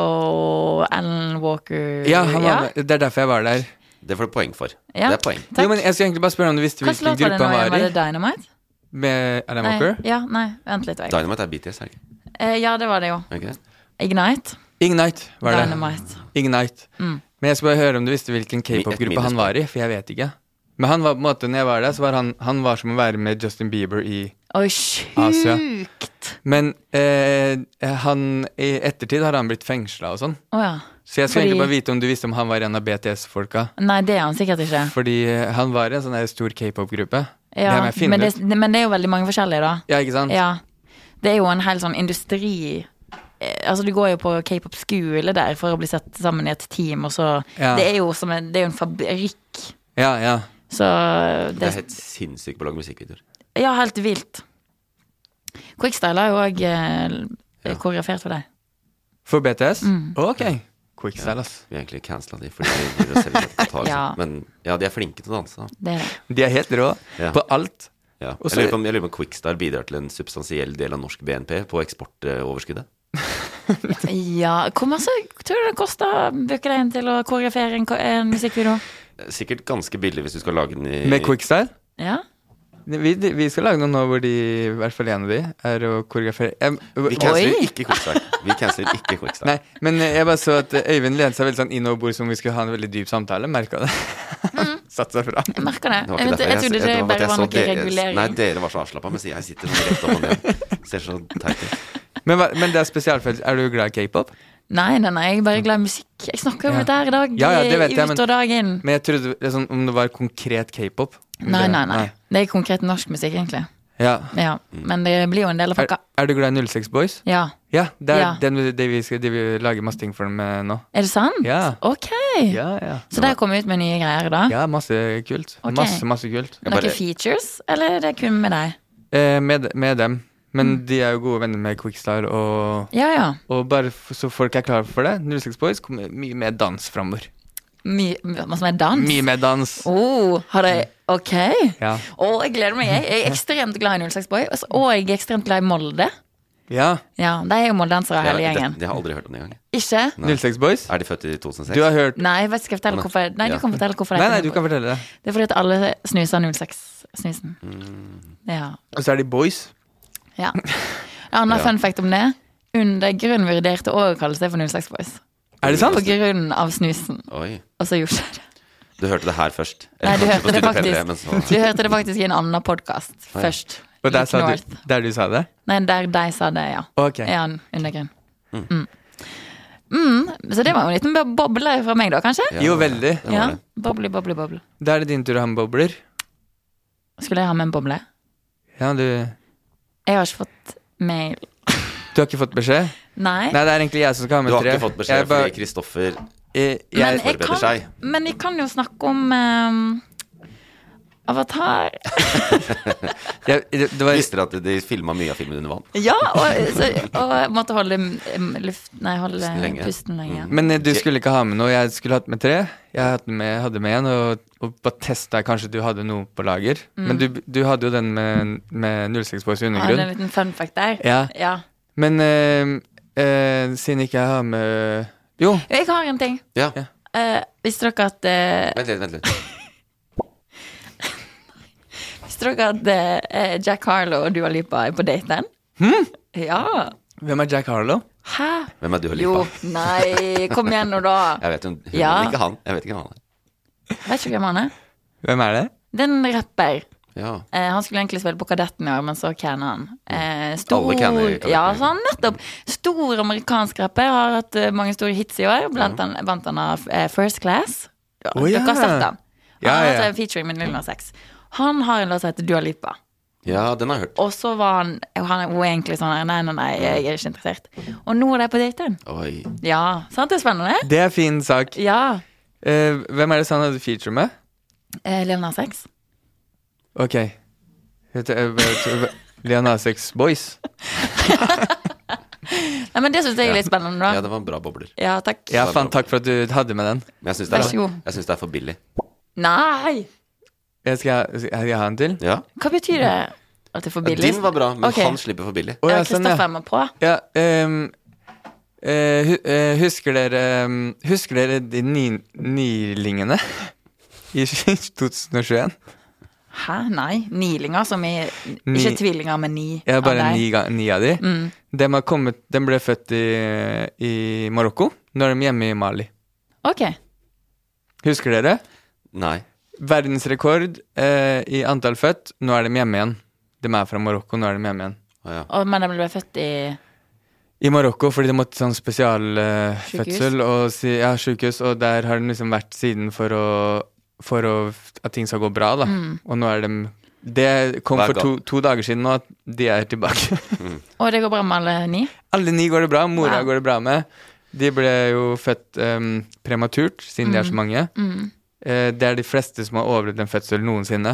S3: Alan Walker
S2: Ja, han var, med. Det er derfor jeg var der.
S1: Det får du poeng for.
S3: Ja.
S1: Det er poeng.
S3: Takk.
S2: Jo, men jeg skulle egentlig bare spørre om du visste
S3: Hvilken
S2: hvilken
S3: låt var
S2: gruppe
S3: det nå?
S2: han
S3: igjen?
S2: var
S3: Var
S2: i.
S3: det Dynamite?
S2: Med Alan
S3: Nei.
S2: Walker.
S3: Ja, nei, vent litt. Jeg.
S1: Dynamite er BTS, er det ikke?
S3: Eh, ja, det var det jo.
S1: Er det ikke det?
S3: Ignite.
S2: Ignite var det.
S3: Dynamite. Mm.
S2: Ignite. Men jeg skulle bare høre om du visste hvilken k-pop-gruppe han var i, for jeg vet ikke. Men han var på en måte, når jeg var der, så var han, han var som å være med Justin Bieber i
S3: Oi,
S2: Asia.
S3: sjukt!
S2: Men eh, han, i ettertid har han blitt fengsla og sånn.
S3: Å ja.
S2: Så jeg skulle
S3: Fordi-
S2: egentlig bare vite om du visste om han var en av BTS-folka.
S3: Nei, det er han sikkert ikke.
S2: Fordi eh, han var i en sånn der stor k-pop-gruppe. det Mm.
S3: Ja,
S2: må jeg finne
S3: men, det,
S2: ut.
S3: men det er jo veldig mange forskjellige, da.
S2: Ja, ikke sant?
S3: Ja. Det er jo en hel sånn industri Eh, Altså, du går jo på k-pop-skole der for å bli satt sammen i et team, og så
S2: Ja.
S3: Det er jo som en, det er jo en fabrikk.
S2: ja, ja.
S3: Så
S1: Det
S3: det,
S1: er helt sinnssykt på å lage musikkvideoer.
S3: Ja, helt vilt. Quickstyle har jo òg eh, koreografert for deg.
S2: For BTS?
S3: Mm.
S2: Ok. Quickstyle, ass.
S1: Vi har egentlig cancela de fordi de driver og
S3: *laughs*
S1: selger kapital.
S3: Ja.
S1: Men ja, de er flinke til å danse, da.
S3: Det er det.
S2: De er helt rå
S1: Ja.
S2: på alt.
S1: Ja.
S2: Og så-
S1: Jeg lurer på om, jeg lurer på om Quickstar bidrar til en substansiell del av norsk BNP på eksportoverskuddet.
S3: *laughs* Ja, hvor masse tror du det koster booker deg inn til å koreografere en, ko- en musikkvideo?
S1: Sikkert ganske billig hvis du skal lage den i
S2: Med Quickstyle?
S3: Ja?
S2: Vi, vi skal lage noe nå hvor de, i hvert fall en av de, er å koreografere Em,
S1: Vi canceler
S3: Oi!
S1: ikke Quickstar. Vi canceler ikke Quickstar.
S2: *laughs* Nei, men eh, jeg bare så at Øyvind lente seg veldig sånn innover bordet som om vi skulle ha en veldig dyp samtale. Merka det.
S3: Mm.
S2: *laughs* Satt seg fra.
S3: Jeg merker det.
S1: Det var
S3: Jeg,
S1: ikke
S3: vet,
S1: derfor
S3: jeg trodde det
S1: var at
S3: bare
S1: jeg
S3: var
S1: så
S3: noe
S1: dere- Nei,
S3: regulering.
S1: dere var så avslappa, mens jeg sitter sånn rett opp og ned. Ser så teit ut.
S2: Men, hva- men det er spesialfelt. Er du glad i k-pop?
S3: Nei, nei, nei, jeg er bare glad i musikk. Jeg snakker jo om
S2: Ja.
S3: dette her i dag.
S2: Ja, ja, det vet jeg, men-
S3: ut og dag inn.
S2: Men jeg trodde det er sånn, om det var konkret k-pop. Om
S3: Nei,
S2: det-
S3: nei, nei. Det er konkret norsk musikk, egentlig.
S2: Ja.
S3: Ja, Men det blir jo en del av
S2: Er,
S3: pakka.
S2: er du glad i 06 Boys?
S3: Ja.
S2: Ja, det er
S3: Ja.
S2: Den, det vi skal, de vi lager masse ting for dem eh, nå.
S3: Er det sant?
S2: Ja.
S3: Ok.
S2: Ja, ja.
S3: Så der kommer vi ut med nye greier, da?
S2: Ja, masse kult.
S3: Ok.
S2: Masse, masse kult.
S3: Noen
S1: bare-
S3: features, eller er det kun med deg?
S2: Eh, med, med dem. Men
S3: Mm.
S2: de er jo gode venner med Quickstyle og
S3: Ja, ja.
S2: Og bare f- så folk er klare for det, 06 Boys kommer mye mer dans framover.
S3: Mye hva som er dans?
S2: Mye mer dans.
S3: Oh, har det Ok.
S2: Ja.
S3: Å, jeg gleder meg. Jeg Jeg er ekstremt glad i 06 Boy. Og så- Og jeg er ekstremt glad i Molde.
S2: Ja.
S3: Ja, De er jo moldensere, hele
S1: Jeg-
S3: gjengen.
S1: Det, det har jeg aldri hørt om engang.
S3: Ikke?
S2: 06 Boys,
S1: Er de født i 2006?
S2: du har hørt
S3: Nei, vet du, skal jeg fortelle hvorfor Nei, du kan fortelle hvorfor
S2: Nei,
S3: det
S2: nei,
S3: er
S2: du
S3: ikke-
S2: kan fortelle det.
S3: Det er fordi at alle snuser 06-snusen.
S2: Mm.
S3: Ja.
S2: Og så er de boys.
S3: ja. En annen fun fact om det. Undergrunn vurderte òg å kalle seg for 06 Boys.
S2: Er det sant?
S3: På grunn av snusen.
S1: Oi.
S3: Og så gjorde jeg det.
S1: Du hørte det her først.
S3: Nei, du
S1: Eller kanskje på Studio
S3: hørte det
S1: P3, men
S3: faktisk
S1: så-
S3: Du hørte det faktisk i en annen podkast først.
S2: Og der,
S3: Look
S2: sa du,
S3: North.
S2: der du sa det?
S3: Nei, der de sa det, ja.
S2: Ok.
S3: Ja, en undergrunn. Mm. Mm. Så det var jo en liten bo- boble fra meg, da, kanskje?
S1: Ja,
S2: Jo,
S1: det var det.
S2: veldig.
S1: Det var
S3: Ja.
S1: det.
S3: Boble, boble, boble.
S2: Da er det din tur å ha med bobler.
S3: Skulle jeg ha med en boble?
S2: Ja, du
S3: Jeg har ikke fått mail.
S2: Du har ikke fått beskjed?
S3: Nei.
S2: Nei, det er egentlig jeg som skal ha
S1: Du
S2: med
S1: har
S2: tre.
S1: ikke fått
S2: Jeg
S1: beskjed
S2: bare-
S1: fordi Kristoffer
S2: jeg-
S3: men,
S2: jeg-
S3: jeg
S1: forbereder
S3: kan,
S1: seg.
S3: men vi kan jo snakke om ehm, Avatar. *laughs*
S2: jeg- det- det var-
S1: visste dere at de filma mye av filmen under vann.
S3: Ja, og, så, og jeg måtte holde mm, luft, nei, holde
S1: Pusten lenge. Mm.
S3: pusten lenge.
S2: Men eh, du skulle ikke ha med noe. Jeg skulle hatt med tre. Jeg hadde med, hadde med en, og, og bare testa kanskje du hadde noe på lager.
S3: Mm.
S2: Men du, du hadde jo den med, med 06 Boys i
S3: Jeg hadde en
S2: undergrunn.
S3: liten fun fact der.
S2: Ja.
S3: Ja.
S2: Men eh, eh, siden ikke jeg har med Jo,
S3: Jeg har en ting.
S1: Ja.
S2: Ja.
S3: Eh, visste dere at eh,
S1: Vent litt, vent litt.
S3: Visste dere at eh, Jack Harlow og Dua Lipa er på daten?
S1: Hm?
S3: Ja.
S2: hvem er Jack Harlow?
S3: Hæ?
S1: Hvem er du og
S3: Jo,
S1: Lipa?
S3: nei, kom igjen nå, da.
S1: *laughs* Jeg vet hun, hun
S3: Ja.
S1: men ikke han. Jeg vet ikke hvem han er.
S3: Vet ikke hvem han er.
S2: Hvem er det?
S3: Det er en rapper.
S1: Ja.
S3: Eh, han skulle egentlig spille på Kadetten i år, men så canna han. Eh,
S1: Alle canner i Kadetten.
S3: ja, så han nettopp. Stor amerikansk rapper. Har hatt eh, mange store hits i år. Blant annet vant han av eh, First Class. Ja,
S2: Å, ja.
S3: Dere har sett han. Han
S2: Ja,
S3: har hatt
S2: ja.
S3: en featuring med Lilla Sex. Han har en låt som heter Dua Lipa.
S1: ja, den har jeg hørt.
S3: Og så var han og Han var egentlig sånn her, Nei, nei, nei, jeg er ikke interessert. Og nå er de på daten.
S1: Oi.
S3: Ja, sant det er spennende?
S2: Det er fin sak.
S3: Ja.
S2: Eh, hvem er det som han hadde feature med?
S3: Eh, Lil Nas X.
S2: Ok. Heter jeg- vet- vet- Lena Sex Boys?
S3: Nei, men Det syns jeg er litt spennende.
S1: Ja,
S3: da
S1: det var bra bobler.
S3: Ja, takk.
S2: Ja, faen, takk for at du hadde med den.
S1: Men jeg syns
S3: Vær så
S1: det, er-
S3: god.
S1: jeg synes det er for billig.
S3: Nei!
S2: Jeg skal, skal jeg ha en til?
S1: Ja.
S3: Hva betyr det? At det er for billig?
S1: Din var bra, men
S3: Ok.
S1: han slipper for billig.
S2: Å,
S3: Ja,
S2: ja, sånn,
S3: Kristoffer
S2: ja.
S3: må på.
S2: Ja, ehm, eh, hu- eh, husker dere ehm, Husker dere de ny, nylingene *laughs* i *laughs* 2021?
S3: Hæ? Nei. Nilinger som i Ikke
S2: Ni-
S3: tvillinger, men ni.
S2: Ja,
S3: av
S2: bare
S3: deg.
S2: ni, ga- ni av de.
S3: Mm.
S2: Dem har kommet, de ble født i, i Marokko. Nå er de hjemme i Mali.
S3: Ok.
S2: Husker dere?
S1: Nei.
S2: Verdensrekord eh, i antall født. Nå er de hjemme igjen. De er fra Marokko, nå er de hjemme igjen.
S1: Å, ja.
S3: Og, men de ble født i
S2: I Marokko, fordi de måtte sånn
S3: Sykehus.
S2: spesialfødsel uh, og si, ja, sykehus, og der har de liksom vært siden for å, for å at ting skal gå bra, da.
S3: Mm.
S2: Og nå er de Det kom
S1: Hver
S2: for to,
S1: gang.
S2: to dager siden nå, at de er tilbake.
S3: Å, det går bra med alle ni?
S2: *laughs* Alle ni går det bra, mora
S3: Wow.
S2: går det bra med. De ble jo født em, prematurt, siden de
S3: Mm.
S2: er så mange. Eh, det er de fleste som har overlevd en fødsel noensinne.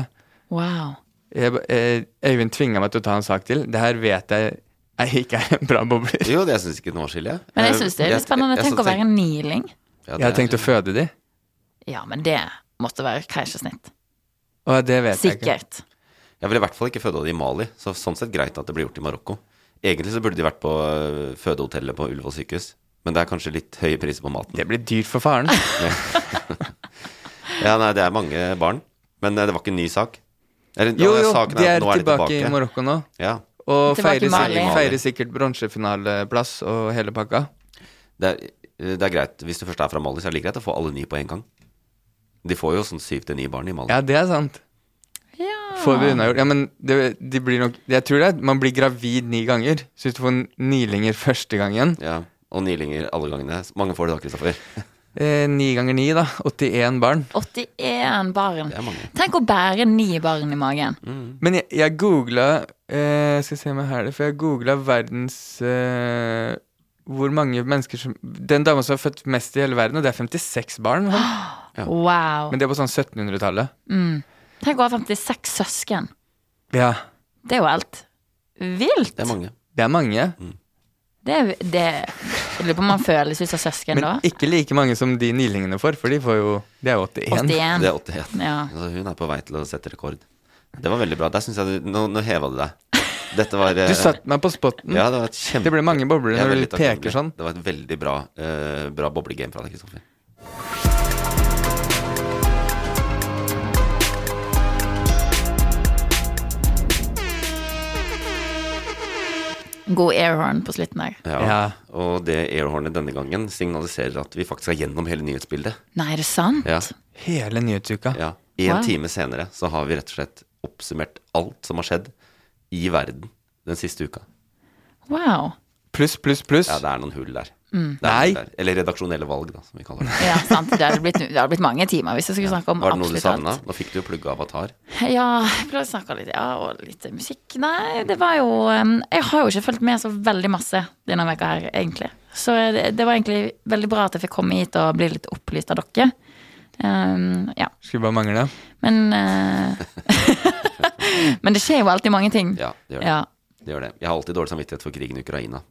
S3: Wow.
S2: Jeg, ba- eh, Øyvind tvinga meg til å ta en sak til. Det her vet jeg, jeg ikke er en bra bobler.
S1: Jo, det syns ikke den var skille.
S3: Men jeg syns det er litt spennende. Tenk å være en niling.
S2: Jeg har tenkt å føde de,
S3: Ja, men det måtte være keisersnitt.
S2: og det vet jeg ikke.
S3: Sikkert.
S1: Jeg ville i hvert fall ikke føde det i Mali, så sånn sett greit at det blir gjort i Marokko. Egentlig så burde de vært på øh, fødehotellet på Ullevål sykehus, men det er kanskje litt høye priser på maten.
S2: Det blir dyrt for *laughs* faren.
S1: Ja, nei, det er mange barn, men øh, det var ikke en ny sak. Eller,
S2: Jo,
S1: ja,
S2: jo,
S1: saken
S2: de er,
S1: nå
S2: tilbake, i Marokko nå.
S1: Ja,
S2: Og
S3: Tilbake
S2: feirer,
S3: i Mali.
S2: sikkert- feirer sikkert bronsefinaleplass og hele pakka.
S1: det er, øh, det er greit. Hvis du først er fra Mali, så er det like greit å få alle ni på en gang. De får jo sånn syv til ni barn i Mali.
S2: Ja, det er sant. Får vi unnagjort. Ja, men det, de blir nok Jeg tror det er man blir gravid ni ganger. Så hvis du får n- nilinger første gangen
S1: Ja, Og nilinger alle gangene. Mange får det da, Kristoffer.
S2: eh, Ni ganger ni, da. 81 barn.
S3: 81 barn.
S1: Det er mange. Mm,
S3: Tenk å bære ni barn i magen.
S2: Men jeg, jeg googla eh, Skal jeg se om jeg har det, for jeg googla verdens eh, Hvor mange mennesker som Den dama som er født mest i hele verden, og det er 56 barn.
S3: *gasps*
S2: vel?
S3: Wow.
S2: Men det er på sånn 1700-tallet.
S3: Tenk å ha 56 søsken.
S2: Ja,
S3: Det er jo helt vilt.
S1: *laughs* Det er mange.
S2: det er mange.
S1: Mm.
S3: Det er, det, jeg lurer på om man føles ut som søsken da.
S2: Men ikke like mange som de nilingene får, for de får jo Det er jo 81.
S3: 81.
S1: Det er 81.
S3: Ja.
S1: Altså, hun er på vei til å sette rekord. Det var veldig bra. Der synes jeg du Nå, nå heva du deg. Dette var eh,
S2: Du satte meg på spotten.
S1: Ja, det var et kjempe...
S2: Det ble mange bobler
S1: Jeg er
S2: når du
S1: veldig takknemlig.
S2: peker sånn.
S1: Det var et veldig bra, eh, bra boblegame fra deg, Kristoffer.
S3: God airhorn på slutten der.
S1: Ja.
S2: Ja.
S1: Og det airhornet denne gangen signaliserer at vi faktisk er gjennom hele nyhetsbildet.
S3: Nei, er det sant?
S1: Ja.
S2: Hele nyhetsuka.
S1: ja. En
S3: Wow.
S1: time senere så har vi rett og slett oppsummert alt som har skjedd i verden den siste uka.
S3: Wow.
S2: Pluss, pluss, pluss.
S1: Ja, det er noen hull der.
S3: Mm.
S1: Det er
S2: Nei.
S1: noen hull der. Eller redaksjonelle valg, da, som vi kaller
S3: *laughs*
S1: det.
S3: Ja, sant. Det hadde blitt, det hadde blitt mange timer hvis jeg skulle snakke om
S1: Var det noe du
S3: absolutt alt.
S1: savna? Nå fikk du jo plugge avatar.
S3: Ja, jeg prøvde å snakke litt, ja, og litt musikk. Nei, det var jo em, Jeg har jo ikke fulgt med så veldig masse denne veka her, egentlig. Så det, det var egentlig veldig bra at jeg fikk komme hit og bli litt opplyst av dere. Em, ja,
S2: Skulle bare mangle.
S3: men eh, *laughs* Men det skjer jo alltid mange ting.
S1: Ja, det gjør det.
S3: ja,
S1: det gjør det. Jeg har alltid dårlig samvittighet for krigen i Ukraina.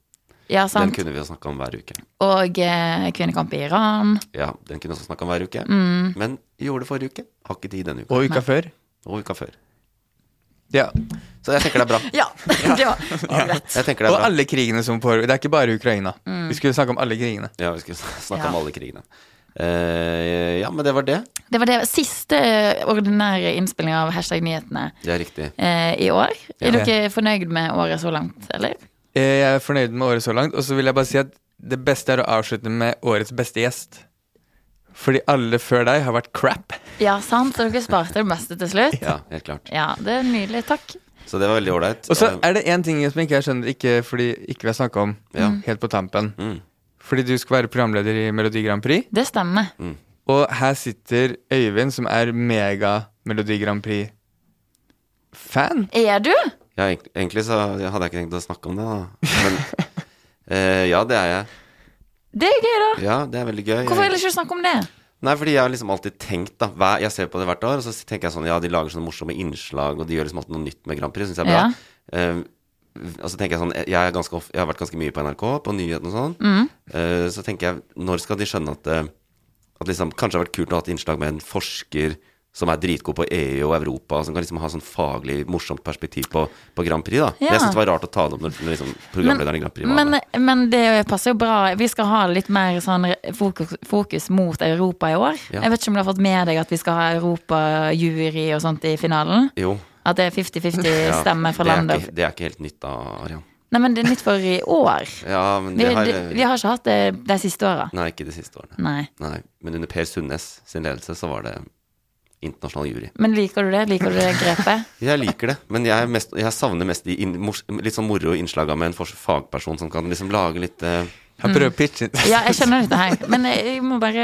S3: ja
S1: Den
S3: sant.
S1: kunne vi jo snakka om hver uke.
S3: Og eh, kvinnekamp i Iran.
S1: Ja, den kunne vi også snakka om hver uke.
S3: Mm.
S1: Men gjorde det forrige uke. Har ikke tid denne uka.
S2: Og uka før.
S1: Og uka før.
S2: Ja.
S1: Så jeg tenker det er bra.
S3: Ja, *laughs*
S1: *laughs*
S3: det var greit.
S1: Jeg tenker det
S2: Og
S1: er bra.
S2: alle krigene som foregår. Det er ikke bare Ukraina. Vi skulle snakke om alle krigene.
S1: Ja, vi skulle *laughs* snakke
S3: Ja.
S1: om alle krigene. Eh, ja, men det var det.
S3: Det var det siste eh, ordinære innspilling av Hashtag nyhetene
S1: Det er riktig.
S3: eh, i år. Er
S2: Ja.
S3: dere fornøyd med året så langt, eller?
S2: Eh, Jeg er fornøyd med året så langt, og så vil jeg bare si at det beste er å avslutte med årets beste gjest. Fordi alle før deg har vært crap.
S3: Ja, sant. Dere sparte det beste til slutt.
S1: Ja, helt klart.
S3: Ja, det er nydelig. Takk.
S1: Så det var veldig ålreit.
S2: Og så
S1: Eh,
S2: er det én ting som ikke jeg skjønner, ikke fordi ikke vi har snakka om,
S1: Ja.
S2: helt på tampen.
S1: Mm.
S2: Fordi du skal være programleder i Melodi Grand Prix,
S3: Det stemmer.
S1: Mm.
S2: og her sitter Øyvind, som er mega Melodi Grand Prix-fan.
S3: Er du?
S1: ja, egent- egentlig så hadde jeg ikke tenkt å snakke om det, da. *laughs* Men eh, ja, det er jeg.
S3: Det er gøy, da.
S1: Ja, det er veldig gøy.
S3: Hvorfor
S1: Jeg-
S3: ellers ikke snakke om det?
S1: Nei, fordi jeg har liksom alltid tenkt da hver, Jeg ser på det hvert år, og så tenker jeg sånn Ja, de lager sånne morsomme innslag, og de gjør liksom alltid noe nytt med Grand Prix. Syns jeg er bra.
S3: Ja.
S1: Eh, og så tenker jeg sånn jeg, er ganske of, jeg har vært ganske mye på NRK, på nyhetene og sånn.
S3: Mm.
S1: Eh, så tenker jeg, når skal de skjønne at, eh, at liksom, Kanskje det har vært kult å ha et innslag med en forsker som er dritgod på EU og Europa, som kan liksom ha sånn faglig morsomt perspektiv på, på Grand Prix, da.
S3: Ja.
S1: Jeg syns det var rart å ta det opp når, når liksom, programlederen i Grand Prix var
S3: Men,
S1: med.
S3: men det passer jo bra. Vi skal ha litt mer sånn re- fokus, fokus mot Europa i år.
S1: Ja.
S3: Jeg vet ikke om du har fått med deg at vi skal ha europajury og sånt i finalen?
S1: Jo.
S3: At det er 50-50
S1: *laughs* Ja,
S3: stemmer fra
S1: det er
S3: landet?
S1: ikke- Det er ikke helt nytt da, Arian.
S3: Nei, men det er nytt for i år.
S1: Ja, men
S3: Vi,
S1: det har eh,
S3: det, vi har ikke hatt det de siste åra.
S1: Nei, ikke de siste årene.
S3: Nei.
S1: Nei, men under Per Sundnes sin ledelse så var det internasjonal jury.
S3: Men liker du det? Liker du det grepet?
S1: Jeg liker det, men jeg, er mest, jeg savner mest de inn, mors, litt sånn moro innslaga med en fors- fagperson som kan liksom lage litt eh,
S2: Jeg prøver å pitche inn.
S3: Mm. Ja, jeg skjønner dette her. Men eh, jeg jeg må bare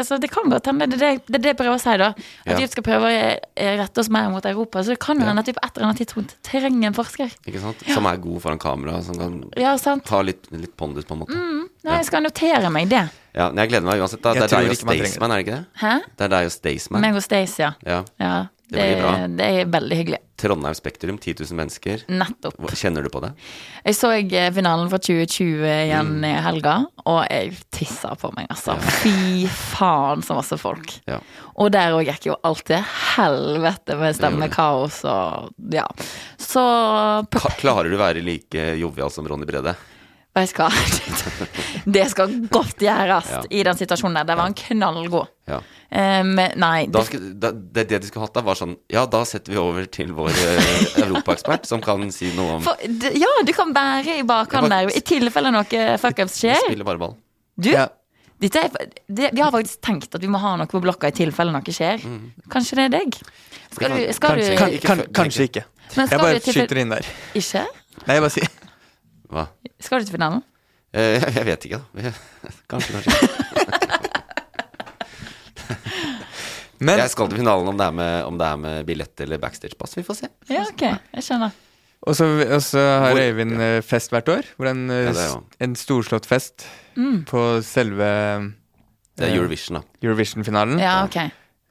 S3: altså, Det kan godt hende. Det er det- det er det jeg prøver å si, da. At
S1: Ja.
S3: vi skal prøve å eh, rette oss mer mot Europa. Så det kan jo
S1: Ja.
S3: hende at vi på et eller annet tidspunkt trenger en forsker.
S1: Ikke sant? Som er god foran kamera, som kan
S3: Ja, sant. Mm.
S1: ha litt, litt pondus, på en måte.
S3: Nei, jeg skal notere meg det.
S1: Ja, men jeg gleder meg uansett. Da.
S2: Jeg
S1: Det er
S2: tror
S1: deg og
S2: ikke man trenger
S1: Staysman, er det ikke det?
S3: Hæ?
S1: Det er deg og Staysman.
S3: Meg og Stacey, ja.
S1: Ja.
S3: ja
S1: Det blir bra.
S3: det er veldig hyggelig.
S1: Trondheim Spektrum, 10 000 mennesker.
S3: Nettopp.
S1: Hva- Kjenner du på det?
S3: Jeg så eh, finalen fra 2020 igjen
S1: Mm.
S3: i helga, og jeg tissa på meg, altså. Fy faen, så masse folk.
S1: Ja.
S3: Og der òg gikk jo alt til helvete med stemmekaos og ja. Så
S1: Ka- Klarer du å være like jovial som Ronny Brede?
S3: Vet du hva? *laughs* Det skal godt gjøres
S1: Ja.
S3: i den situasjonen der. Der var han knallgod.
S1: Ja.
S3: Um, nei,
S1: da
S3: det,
S1: skulle, da, det, det de skulle hatt da, var sånn Ja, da setter vi over til vår eh, europaekspert, som kan si noe om
S3: for, d- ja, du kan bære i bakhånd
S1: Jeg bare-
S3: der i tilfelle noe fuckups
S1: Vi
S3: skjer.
S1: spiller bare ball.
S3: Du,
S2: *laughs* Ja.
S3: dette er, det, vi har faktisk tenkt at vi må ha noe på blokka i tilfelle noe skjer.
S1: Mm.
S3: Kanskje det er deg? Skal du, skal du
S2: Kanskje, kan,
S1: ikke
S2: kan,
S1: før-
S2: kanskje ikke.
S3: Men
S2: Jeg
S3: skal
S2: bare
S3: du til
S2: skyter inn der.
S3: Ikke?
S2: Nei, jeg bare sier
S1: Hva?
S3: Skal du til finalen?
S1: Eh, jeg, jeg vet ikke, da. Kanskje, kanskje ikke.
S2: Men
S1: *laughs* Jeg skal til finalen om det er med, om det er med billett eller backstagepass. Vi får se.
S3: Ja, ok, jeg skjønner.
S2: Og så og så har
S1: Hvor-
S2: Øyvind eh, fest hvert år. Hvor en, eh,
S1: Ja, det er
S2: s-
S1: jo.
S2: en storslått fest
S3: Mm.
S2: på selve
S1: Det
S2: eh,
S1: er Eurovision, da. Mm.
S2: Eurovision-finalen.
S3: Ja, ok.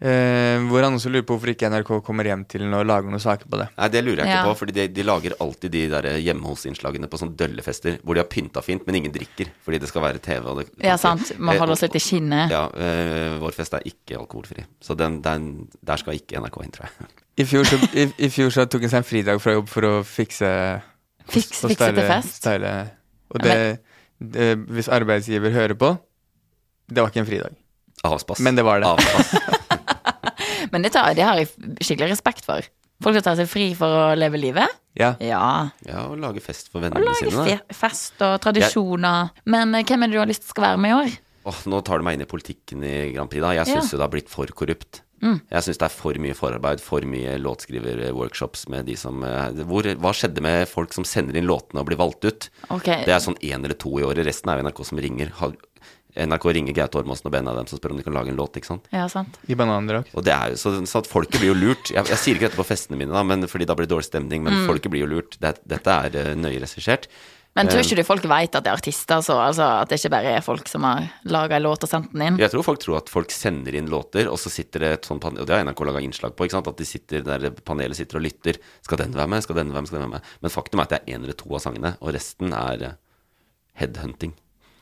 S2: Eh, hvor han også lurer på hvorfor ikke NRK kommer hjem til den og lager noen saker på det.
S1: Nei, det lurer jeg ikke
S3: Ja.
S1: på, Fordi de, de lager alltid de der hjemme hos-innslagene på sånne døllefester hvor de har pynta fint, men ingen drikker. Fordi det skal være TV. Og det,
S3: Ja, sant. Må
S1: Eh,
S3: holde oss litt i skinnet.
S1: Ja, eh, vår fest er ikke alkoholfri. Så den, den, der skal ikke NRK inn, tror jeg.
S2: I fjor, så, i, i fjor så tok han seg en fridag fra jobb for å fikse
S3: Fiks,
S2: og
S3: fikse til
S2: style-
S3: fest.
S2: style- Og
S3: Ja,
S2: det, det eh, Hvis arbeidsgiver hører på Det var ikke en fridag.
S1: Avpass.
S2: Men det var det.
S1: Avpass.
S3: Men det, tar, det har jeg skikkelig respekt for. Folk som tar seg fri for å leve livet.
S2: Ja.
S3: Ja.
S1: Ja, og lage fest for
S3: Og
S1: vennene sine.
S3: lage
S1: da.
S3: fe fest og tradisjoner. Men eh, hvem er det du har lyst til skal være med i år?
S1: Åh, nå tar du meg inn i politikken i Grand Prix, da. Jeg syns
S3: Ja. Mm.
S1: jo det har blitt for korrupt. Jeg syns det er for mye forarbeid, for mye låtskriverworkshops med de som eh, hvor, Hva skjedde med folk som sender inn låtene og blir valgt ut?
S3: Ok.
S1: Det er sånn én eller to i året. Resten er jo NRK som ringer. Har, NRK ringer Gaute Ormåsen og bandet deres og spør om de kan lage en låt, ikke sant.
S3: Ja, sant.
S2: I banandrakt.
S1: Og det er jo, så, så at folket blir jo lurt. Jeg, jeg sier ikke dette på festene mine, da, men fordi da blir det dårlig stemning,
S3: Mm.
S1: men folket blir jo lurt. Det, dette er eh, nøye regissert.
S3: Men
S1: Eh.
S3: tror ikke du folk vet at det er artister, så altså, at det ikke bare er folk som har laga en låt og sendt den inn?
S1: Jeg tror folk tror at folk sender inn låter, og så sitter det et sånt panel, og det har NRK laga innslag på, ikke sant? at de sitter der panelet sitter og lytter. Skal den være med? Skal den være med? Skal den være med? Men faktum er at det er én eller to av sangene, og resten er eh, headhunting.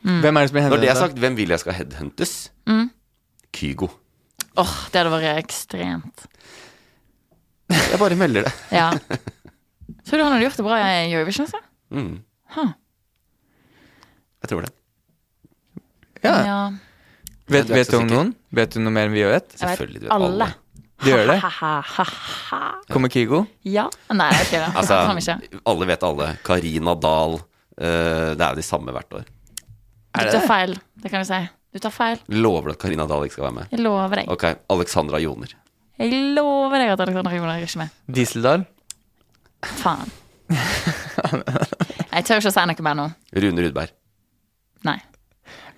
S3: Mm.
S2: Hvem er det som er
S1: Når det er
S2: henvendt?
S1: sagt, hvem vil jeg skal headhuntes? Kygo.
S3: Åh, det hadde vært ekstremt.
S1: Jeg bare melder det.
S3: Ja.
S1: *laughs*
S3: Tror du han hadde gjort det bra i Eurovision, altså?
S1: Mm. Jeg tror det.
S2: Ja.
S3: Ja.
S2: da? Vet,
S1: Jeg er
S2: vet
S1: ikke
S2: du om
S1: sikker.
S2: noen? Vet du noe mer enn vi vet?
S3: Jeg vet
S1: Selvfølgelig vet
S3: alle.
S1: alle.
S2: De gjør det?
S3: *laughs* Ha-ha-ha.
S2: Kommer Kygo?
S3: Ja. Nei, ok, da. Altså, han
S1: Altså,
S3: ikke.
S1: alle vet alle. Karina Dahl. eh, det er jo de samme hvert år.
S3: Du tar feil, det kan du si. Du tar feil.
S1: Lover du at Karina Dahl ikke skal være med?
S3: Jeg lover deg.
S1: Ok, Alexandra Joner.
S3: Jeg lover deg at Alexander Joner er ikke med.
S2: Dieseldal?
S3: Faen. Jeg tør ikke å si noe mer nå.
S1: Rune Rudberg.
S3: Nei.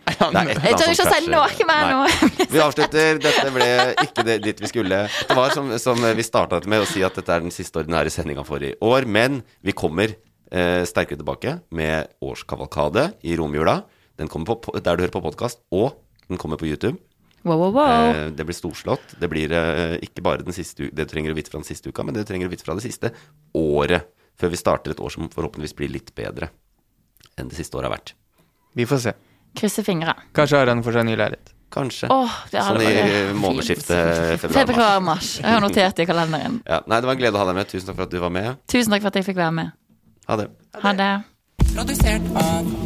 S1: Det er et eller
S3: Jeg
S1: annet som
S3: tør ikke å si
S1: krasjer.
S3: noe mer
S1: Sånn Nei.
S3: nå.
S1: Vi avslutter. Dette ble ikke det, dit vi skulle. Det var som, som vi starta med å si at dette er den siste ordinære sendinga for i år. Men vi kommer eh, sterkere tilbake med årskavalkade i romjula. Den kommer på, po- der du hører på podkast, og den kommer på YouTube.
S3: *laughs* Wow, wow, wow.
S1: Eh, Det blir storslått. Det blir eh, ikke bare den siste u det du trenger å vite fra den siste uka, men det du trenger å vite fra det siste året. Før vi starter et år som forhåpentligvis blir litt bedre enn det siste året har vært.
S2: Vi får se.
S3: Krysser fingre.
S2: Kanskje Aran får seg ny leilighet.
S1: Kanskje.
S3: Åh, det
S1: sånn
S3: hadde
S1: i
S3: vært
S1: månedsskiftet februar-mars.
S3: Februar-mars. Jeg har notert det i kalenderen.
S1: Ja. Nei, det var en glede å ha deg med. Tusen takk for at du var med.
S3: Tusen takk for at jeg fikk være med.
S1: Ha det.
S3: Ha det.
S4: Produsert av